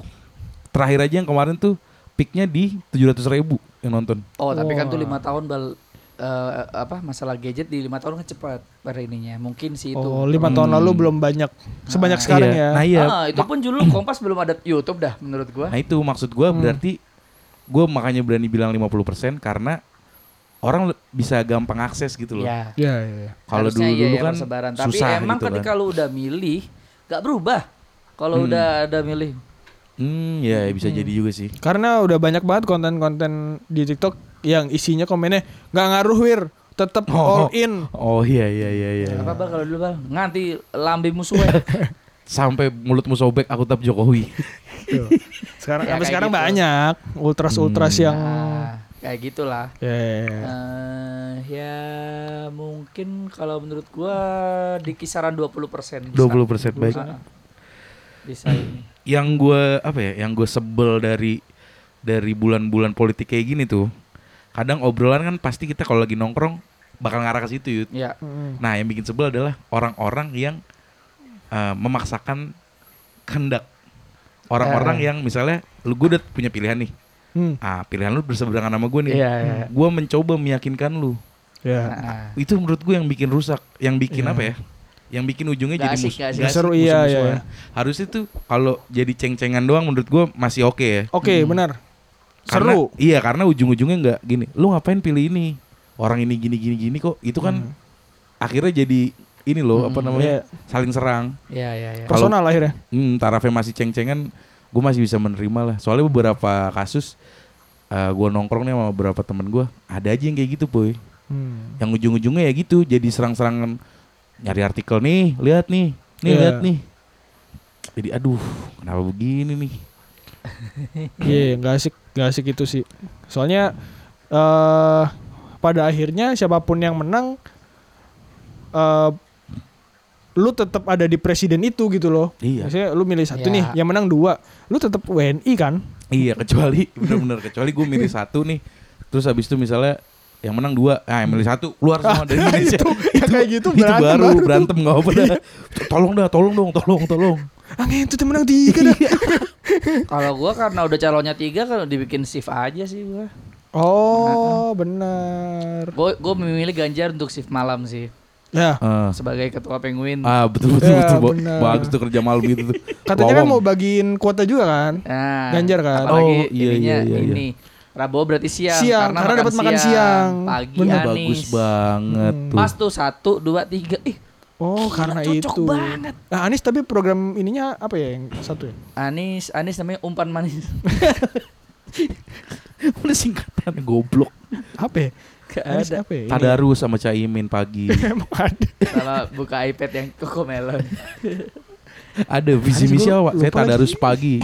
Speaker 1: Terakhir aja yang kemarin tuh peaknya di 700 ribu yang nonton.
Speaker 3: Oh, tapi kan tuh
Speaker 2: Wah.
Speaker 3: lima tahun bal eh, apa masalah gadget di lima tahun kan cepat per ininya. Mungkin sih itu.
Speaker 2: Oh, lima tahun
Speaker 1: Hmm.
Speaker 2: lalu belum banyak sebanyak
Speaker 3: Ah,
Speaker 2: sekarang
Speaker 1: Iya.
Speaker 2: ya.
Speaker 1: Nah iya.
Speaker 3: Ah, itu
Speaker 1: Ma-
Speaker 3: pun dulu Kompas belum ada YouTube dah menurut gua.
Speaker 1: Nah itu maksud gue
Speaker 2: Hmm.
Speaker 1: berarti gue makanya berani bilang 50% karena orang le- bisa gampang akses gitu loh.
Speaker 3: Iya.
Speaker 2: Iya, iya, iya.
Speaker 1: Kalau
Speaker 3: Harusnya
Speaker 1: dulu
Speaker 3: iya
Speaker 1: dulu
Speaker 3: ya,
Speaker 1: kan
Speaker 3: persebaran. Tapi
Speaker 1: susah
Speaker 3: emang
Speaker 1: gitu
Speaker 3: ketika
Speaker 1: kan.
Speaker 3: lu udah milih gak berubah. Kalau
Speaker 1: Hmm.
Speaker 3: udah ada milih.
Speaker 1: Hmm, ya bisa jadi juga sih.
Speaker 2: Karena udah banyak banget konten-konten di TikTok yang isinya komennya nggak ngaruh wir, tetap all in.
Speaker 1: Oh iya iya iya iya.
Speaker 3: Apa bal kalau dulu bal? Nganti lambe musuhnya.
Speaker 1: Sampai mulutmu sobek aku tetap Jokowi.
Speaker 2: Tuh. Sekarang
Speaker 3: Ya,
Speaker 2: sampai
Speaker 3: kayak
Speaker 2: sekarang
Speaker 3: gitu.
Speaker 2: banyak ultras-ultras yang
Speaker 3: Nah, kayak gitulah.
Speaker 2: Hmm. ya, ya, ya.
Speaker 3: Eh, ya mungkin kalau menurut gua di kisaran 20 persen.
Speaker 1: 20% baik. Hmm.
Speaker 3: Bisa ini.
Speaker 1: Yang gue apa ya? Yang gue sebel dari dari bulan-bulan politik kayak gini tuh. Kadang obrolan kan pasti kita kalau lagi nongkrong bakal ngarah ke situ Yud.
Speaker 3: Ya.
Speaker 2: Mm.
Speaker 1: Nah, yang bikin sebel adalah orang-orang yang eh, memaksakan kehendak. Orang-orang
Speaker 3: Eh.
Speaker 1: yang misalnya lu gue udah punya pilihan nih.
Speaker 2: Hmm,
Speaker 1: Ah, pilihan lu berseberangan sama gue nih.
Speaker 3: Iya.
Speaker 1: Gue mencoba meyakinkan lu.
Speaker 2: ya.
Speaker 3: Nah,
Speaker 1: Itu menurut gue yang bikin rusak, yang bikin
Speaker 2: Iya.
Speaker 1: apa ya? Yang bikin ujungnya
Speaker 3: Nggak
Speaker 1: jadi
Speaker 3: asik,
Speaker 1: mus-
Speaker 3: nggak asik.
Speaker 1: nggak
Speaker 2: Seru,
Speaker 1: asik,
Speaker 2: iya,
Speaker 1: musuh-musuhan.
Speaker 2: iya.
Speaker 1: Harusnya tuh kalau jadi ceng-cengan doang menurut gue masih oke ya.
Speaker 2: Oke, benar.
Speaker 1: Karena-
Speaker 2: Oh, Seru.
Speaker 1: Iya, karena ujung-ujungnya nggak gini. Lu ngapain pilih ini? Orang ini gini gini gini kok. Itu kan
Speaker 2: Hmm.
Speaker 1: akhirnya jadi ini loh apa namanya?
Speaker 2: Iya.
Speaker 1: Saling serang.
Speaker 3: ya ya ya.
Speaker 1: Kalau-
Speaker 2: Personal akhirnya.
Speaker 1: Hmm, tarafnya masih ceng-cengan, gue masih bisa menerima lah. Soalnya beberapa kasus eh gue nongkrong nih sama beberapa temen gue, ada aja yang kayak gitu, boy.
Speaker 2: Hmm.
Speaker 1: Yang ujung-ujungnya ya gitu, jadi serang-serangan nyari artikel nih, lihat nih, nih
Speaker 2: Iya.
Speaker 1: lihat nih. Jadi aduh, kenapa begini nih?
Speaker 2: Iya, nggak asik, nggak asik itu sih. Soalnya eh pada akhirnya siapapun yang menang eh lu tetap ada di presiden itu gitu loh.
Speaker 1: Iya,
Speaker 2: Maksudnya lu milih satu
Speaker 3: Iya.
Speaker 2: nih, yang menang dua. Lu tetap WNI kan?
Speaker 1: iya kecuali bener-bener kecuali gue milih satu nih, terus habis itu misalnya yang menang dua, ah yang milih satu keluar semua dari Indonesia.
Speaker 2: Nah, itu, yang kayak gitu
Speaker 1: itu
Speaker 2: berantem
Speaker 1: baru
Speaker 2: tuh.
Speaker 1: berantem nggak apa-apa. dah. Tolong dah, tolong dong, tolong, tolong.
Speaker 2: Ah, itu yang menang tiga dah.
Speaker 3: Kalau gua karena udah calonnya tiga kalau dibikin shift aja sih gua.
Speaker 2: oh, benar.
Speaker 3: Gua gua memilih Ganjar untuk shift malam sih
Speaker 2: Ya,
Speaker 1: Eh,
Speaker 3: sebagai ketua penguin.
Speaker 1: Ah betul betul
Speaker 2: Ya,
Speaker 1: betul Bo.
Speaker 2: benar.
Speaker 1: bagus tuh kerja malam gitu tuh.
Speaker 2: katanya kan
Speaker 1: Lowong.
Speaker 2: mau bagiin kuota juga kan?
Speaker 3: Nah,
Speaker 2: Ganjar kan?
Speaker 3: Apalagi
Speaker 1: Oh, iya,
Speaker 3: ininya
Speaker 1: iya, iya, iya.
Speaker 3: ini. Prabowo berarti siang,
Speaker 2: Siang, karena dapat makan siang.
Speaker 3: Pagi
Speaker 1: Bener,
Speaker 3: Anies.
Speaker 1: Iya, bagus banget
Speaker 2: Hmm.
Speaker 1: tuh.
Speaker 3: Pas tuh satu, dua, tiga. Ih,
Speaker 2: Oh, karena
Speaker 3: cocok
Speaker 2: itu.
Speaker 3: banget.
Speaker 2: Nah, Anies tapi program ininya apa ya yang satu ya?
Speaker 3: Anies, Anies namanya umpan manis.
Speaker 1: Udah singkatan goblok.
Speaker 2: Apa ya?
Speaker 3: Gak
Speaker 2: Anies
Speaker 3: Eh, ada.
Speaker 2: apa ya? Ini.
Speaker 1: Tadarus sama Caimin pagi.
Speaker 2: Emang ada.
Speaker 3: Kalau buka iPad yang koko melon.
Speaker 1: Ada visi misi
Speaker 2: gua
Speaker 1: awak. Saya
Speaker 2: lupa lagi. Iya,
Speaker 1: tadarus pagi.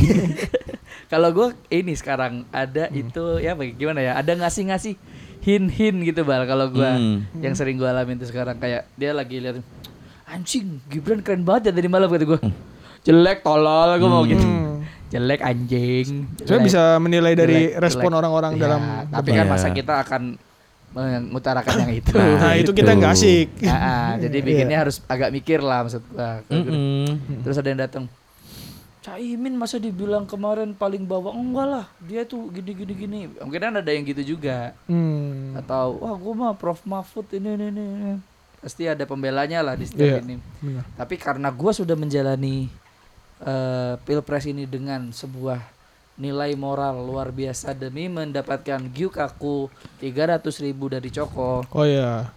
Speaker 3: Kalau gue ini sekarang ada
Speaker 2: Hmm.
Speaker 3: itu ya apa- gimana ya? Ada ngasih-ngasih hin-hin gitu bal kalau gua
Speaker 1: Hmm.
Speaker 3: yang sering gua alamin tuh sekarang kayak dia lagi lihat anjing Gibran keren banget ya tadi malam kata gua Jelek tolol gua mau gitu.
Speaker 2: Hmm.
Speaker 3: Jelek anjing.
Speaker 2: Saya
Speaker 3: jelek.
Speaker 2: bisa menilai dari
Speaker 3: Jelek,
Speaker 2: respon
Speaker 3: jelek.
Speaker 2: orang-orang
Speaker 3: Ya,
Speaker 2: dalam
Speaker 1: debat.
Speaker 3: tapi kan
Speaker 1: Iya.
Speaker 3: masa kita akan mengutarakan yang itu.
Speaker 1: Nah,
Speaker 2: Nah, itu
Speaker 3: gitu.
Speaker 2: kita
Speaker 1: itu.
Speaker 2: nggak asik.
Speaker 3: Ah, ah, jadi
Speaker 2: Iya.
Speaker 3: bikinnya harus agak mikir lah maksud gua.
Speaker 2: Hmm,
Speaker 1: Mm-mm.
Speaker 3: Terus ada yang datang. Caimin masa dibilang kemarin paling bawah enggak lah dia tuh gini gini gini mungkin kan ada yang gitu juga
Speaker 2: Hmm.
Speaker 3: atau wah gua mah Prof Mahfud ini ini ini ini." pasti ada pembelanya lah di
Speaker 2: Iya.
Speaker 3: setiap ini
Speaker 2: Benar.
Speaker 3: tapi karena gua sudah menjalani eh, pilpres ini dengan sebuah nilai moral luar biasa demi mendapatkan giuk aku 300 ribu dari Coko
Speaker 2: Oh ya,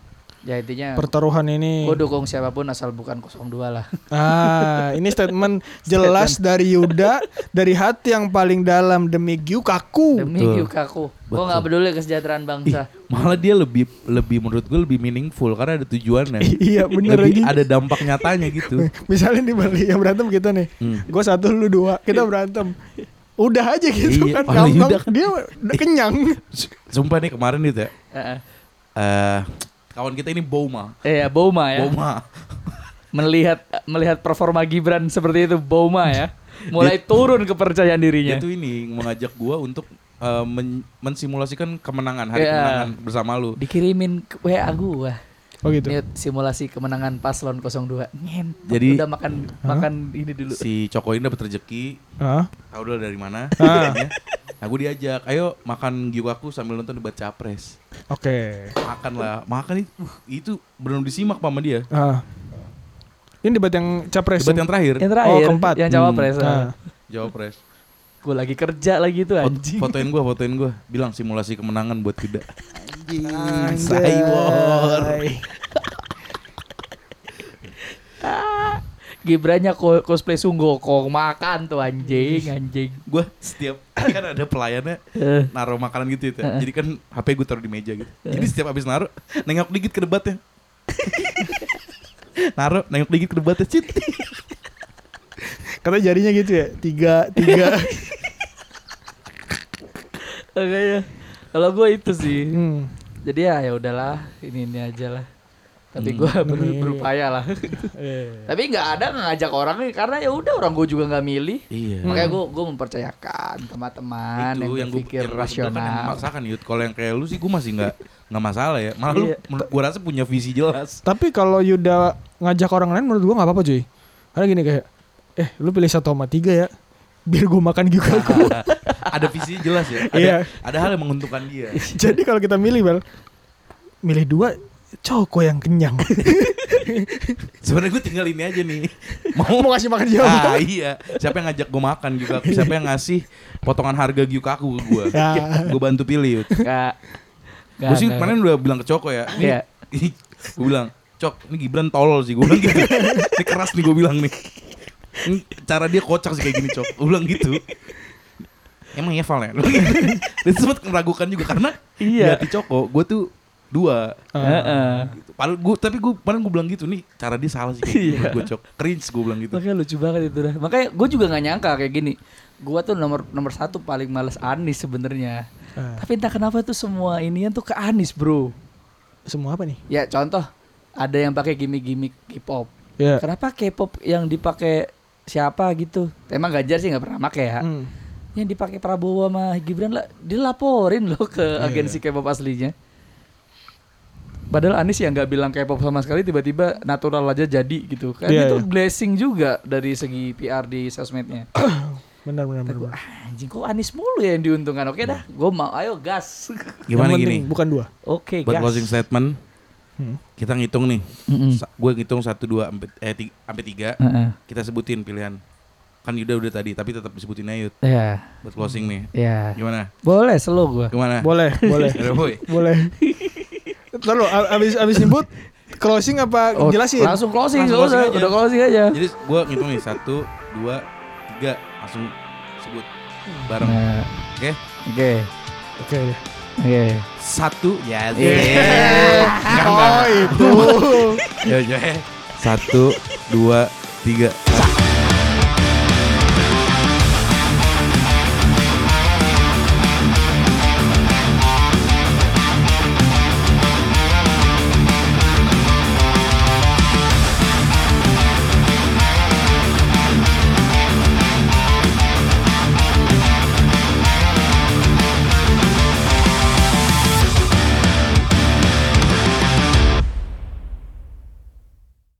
Speaker 3: ya intinya
Speaker 2: pertaruhan ini.
Speaker 3: gue dukung siapapun asal bukan 02 lah
Speaker 2: Ah, ini statement jelas dari Yuda dari hati yang paling dalam demi Gyu kaku.
Speaker 3: demi
Speaker 1: Betul.
Speaker 3: giuk aku gue nggak peduli kesejahteraan
Speaker 1: Ih,
Speaker 3: bangsa
Speaker 1: malah dia lebih lebih menurut gue lebih meaningful karena ada tujuannya.
Speaker 2: iya bener
Speaker 1: lebih
Speaker 2: lagi.
Speaker 1: ada dampak nyatanya gitu.
Speaker 2: Misalnya di Bali yang berantem kita nih,
Speaker 1: Hmm.
Speaker 2: gue satu lu dua, kita berantem. Udah aja gitu
Speaker 1: Iya,
Speaker 2: kan,
Speaker 1: kalau
Speaker 2: gampang.
Speaker 1: Yuda kan-
Speaker 2: Dia udah kenyang.
Speaker 1: S- Sumpah nih kemarin itu ya.
Speaker 3: Heeh.
Speaker 1: eh, kawan kita ini Boma.
Speaker 3: Iya, Boma ya.
Speaker 1: Boma.
Speaker 3: Melihat melihat performa Gibran seperti itu Boma ya. Mulai turun kepercayaan dirinya.
Speaker 1: Dia tuh ini mengajak gua untuk eh, men- mensimulasikan kemenangan hari
Speaker 3: Iya.
Speaker 1: kemenangan bersama lu.
Speaker 3: Dikirimin ke WA gua.
Speaker 2: Oh gitu.
Speaker 1: Iya.
Speaker 3: Ini simulasi kemenangan paslon 02. Nyem.
Speaker 1: Jadi-
Speaker 3: udah makan
Speaker 2: Hah?
Speaker 3: makan ini dulu.
Speaker 1: si Coko ini dapat rezeki
Speaker 2: Hah?
Speaker 1: tahu dulu dari mana
Speaker 2: Ah.
Speaker 1: ya. nah gue diajak ayo makan giwaku sambil nonton debat capres
Speaker 2: Oke.
Speaker 1: makan lah makan itu uh, itu belum disimak sama dia
Speaker 2: Ah. Ini debat ya? yang capres.
Speaker 1: debat yang terakhir
Speaker 3: Yang terakhir,
Speaker 2: Oh, keempat.
Speaker 3: yang
Speaker 1: Hmm.
Speaker 3: cawapres.
Speaker 1: Nah.
Speaker 2: Ah.
Speaker 1: jawab pres
Speaker 3: Gue lagi kerja lagi tuh
Speaker 1: Fot-
Speaker 3: anjing.
Speaker 1: fotoin gue fotoin gue bilang simulasi kemenangan buat kuda Saibor
Speaker 3: Gibrannya ko- cosplay Sunggokong makan tuh anjing, anjing.
Speaker 1: gue setiap kan ada pelayannya naruh makanan gitu ya. Jadi kan HP gue taruh di meja gitu. Jadi setiap habis naruh nengok dikit ke debatnya. naruh nengok dikit ke debatnya cit.
Speaker 2: Kata jarinya gitu ya. Tiga, tiga.
Speaker 3: Makanya kalau gue itu sih.
Speaker 2: Hmm.
Speaker 3: Jadi ya ya udahlah, ini ini aja lah. Tapi
Speaker 1: Hmm.
Speaker 3: gue berupaya lah.
Speaker 2: Eh.
Speaker 3: Iya. Tapi nggak ada nggak ngajak orang karena ya udah orang gue juga nggak milih.
Speaker 1: Iya.
Speaker 3: Makanya gue gue mempercayakan teman-teman
Speaker 1: itu yang gue
Speaker 3: berpikir
Speaker 1: pikir rasional kan yang
Speaker 3: rasional.
Speaker 1: memaksakan Yud. Kalau yang kayak lu sih gue masih nggak nggak masalah ya. Malah lu
Speaker 3: Iya.
Speaker 1: menurut gue rasa punya visi jelas.
Speaker 2: Tapi kalau Yuda ngajak orang lain menurut gua nggak apa-apa cuy. Karena gini kayak, eh lu pilih satu sama tiga ya. Biar gua makan juga aku.
Speaker 1: ada visi jelas ya. Ada,
Speaker 2: Iya.
Speaker 1: ada hal yang menguntungkan dia.
Speaker 2: Jadi kalau kita milih bel, milih dua coko yang kenyang.
Speaker 1: Sebenarnya gue tinggal ini aja nih.
Speaker 2: Mau ngasih makan siapa?
Speaker 1: Ah iya, siapa yang ngajak gue makan juga? Siapa yang ngasih potongan harga gyukaku ke gue?
Speaker 2: Ya.
Speaker 1: Gue bantu pilih. Yud.
Speaker 3: Nggak. Iya. nggak,
Speaker 1: Gue sih
Speaker 3: nggak.
Speaker 1: kemarin udah bilang ke Coko ya.
Speaker 3: Iya.
Speaker 1: gue bilang, Cok, ini Gibran tolol sih. Gue bilang gitu. ini keras nih gue bilang nih. Ini Cara dia kocak sih kayak gini, Cok. Gue bilang gitu. Emang ya Val ya? Gua gitu. Dan sempat meragukan juga karena di
Speaker 3: Iya.
Speaker 1: hati Coko, gue tuh dua.
Speaker 3: Heeh.
Speaker 1: Gitu. Padahal gua, tapi gue kemarin gue bilang gitu nih, cara dia salah sih kayak gini.
Speaker 3: Iya.
Speaker 1: Gue Cok, cringe gue bilang gitu.
Speaker 3: Makanya lucu banget itu dah. Makanya gue juga nggak nyangka kayak gini. Gue tuh nomor nomor satu paling males Anis sebenarnya.
Speaker 1: Nah.
Speaker 2: Ah.
Speaker 3: Tapi entah kenapa tuh semua inian tuh ke Anis bro.
Speaker 2: Semua apa nih?
Speaker 3: Ya contoh ada yang pakai gimmick-gimmick K-pop.
Speaker 1: Iya.
Speaker 2: Ya.
Speaker 3: Kenapa K-pop yang dipakai siapa gitu? Emang Ganjar sih nggak pernah pakai ya.
Speaker 2: Hmm.
Speaker 3: Yang dipakai Prabowo sama Gibran lah dilaporin loh ke
Speaker 1: Iya,
Speaker 3: agensi K-pop aslinya. Padahal Anies yang nggak bilang K-pop sama sekali tiba-tiba natural aja jadi gitu. Kan
Speaker 2: Iya,
Speaker 3: itu
Speaker 2: iya.
Speaker 3: blessing juga dari segi PR di sosmednya.
Speaker 2: Benar benar benar.
Speaker 3: Gua,
Speaker 2: benar.
Speaker 3: "Ah, Anjing kok Anies mulu ya yang diuntungkan. Oke dah,
Speaker 1: Iya.
Speaker 3: gue mau ayo gas.
Speaker 1: Gimana
Speaker 2: yang
Speaker 1: gini?
Speaker 2: penting bukan dua.
Speaker 3: Oke,
Speaker 1: Buat
Speaker 3: gas.
Speaker 1: closing statement,
Speaker 2: Hmm.
Speaker 1: kita ngitung nih.
Speaker 3: Mm-mm.
Speaker 1: Sa- Gue ngitung satu, dua, ampe- eh, tiga, sampai tiga.
Speaker 3: Heeh.
Speaker 1: kita sebutin pilihan kan Yuda udah tadi tapi tetap disebutin aja Yud
Speaker 3: Ya,
Speaker 1: buat
Speaker 2: Hmm.
Speaker 1: closing nih
Speaker 3: ya.
Speaker 1: gimana
Speaker 3: Boleh slow gue.
Speaker 1: gimana
Speaker 2: Boleh, boleh.
Speaker 1: Yaudah, boy.
Speaker 2: boleh. Ntar lu a- abis abis nyebut closing apa
Speaker 3: Oh,
Speaker 2: jelasin?
Speaker 3: Langsung closing,
Speaker 1: Langsung
Speaker 3: udah,
Speaker 1: closing aja.
Speaker 3: udah closing aja.
Speaker 1: jadi gue ngitung nih satu dua tiga langsung sebut bareng oke
Speaker 3: Nah, Oke,
Speaker 2: Oke.
Speaker 3: oke.
Speaker 1: satu ya
Speaker 2: Oh itu.
Speaker 1: Ya, satu dua tiga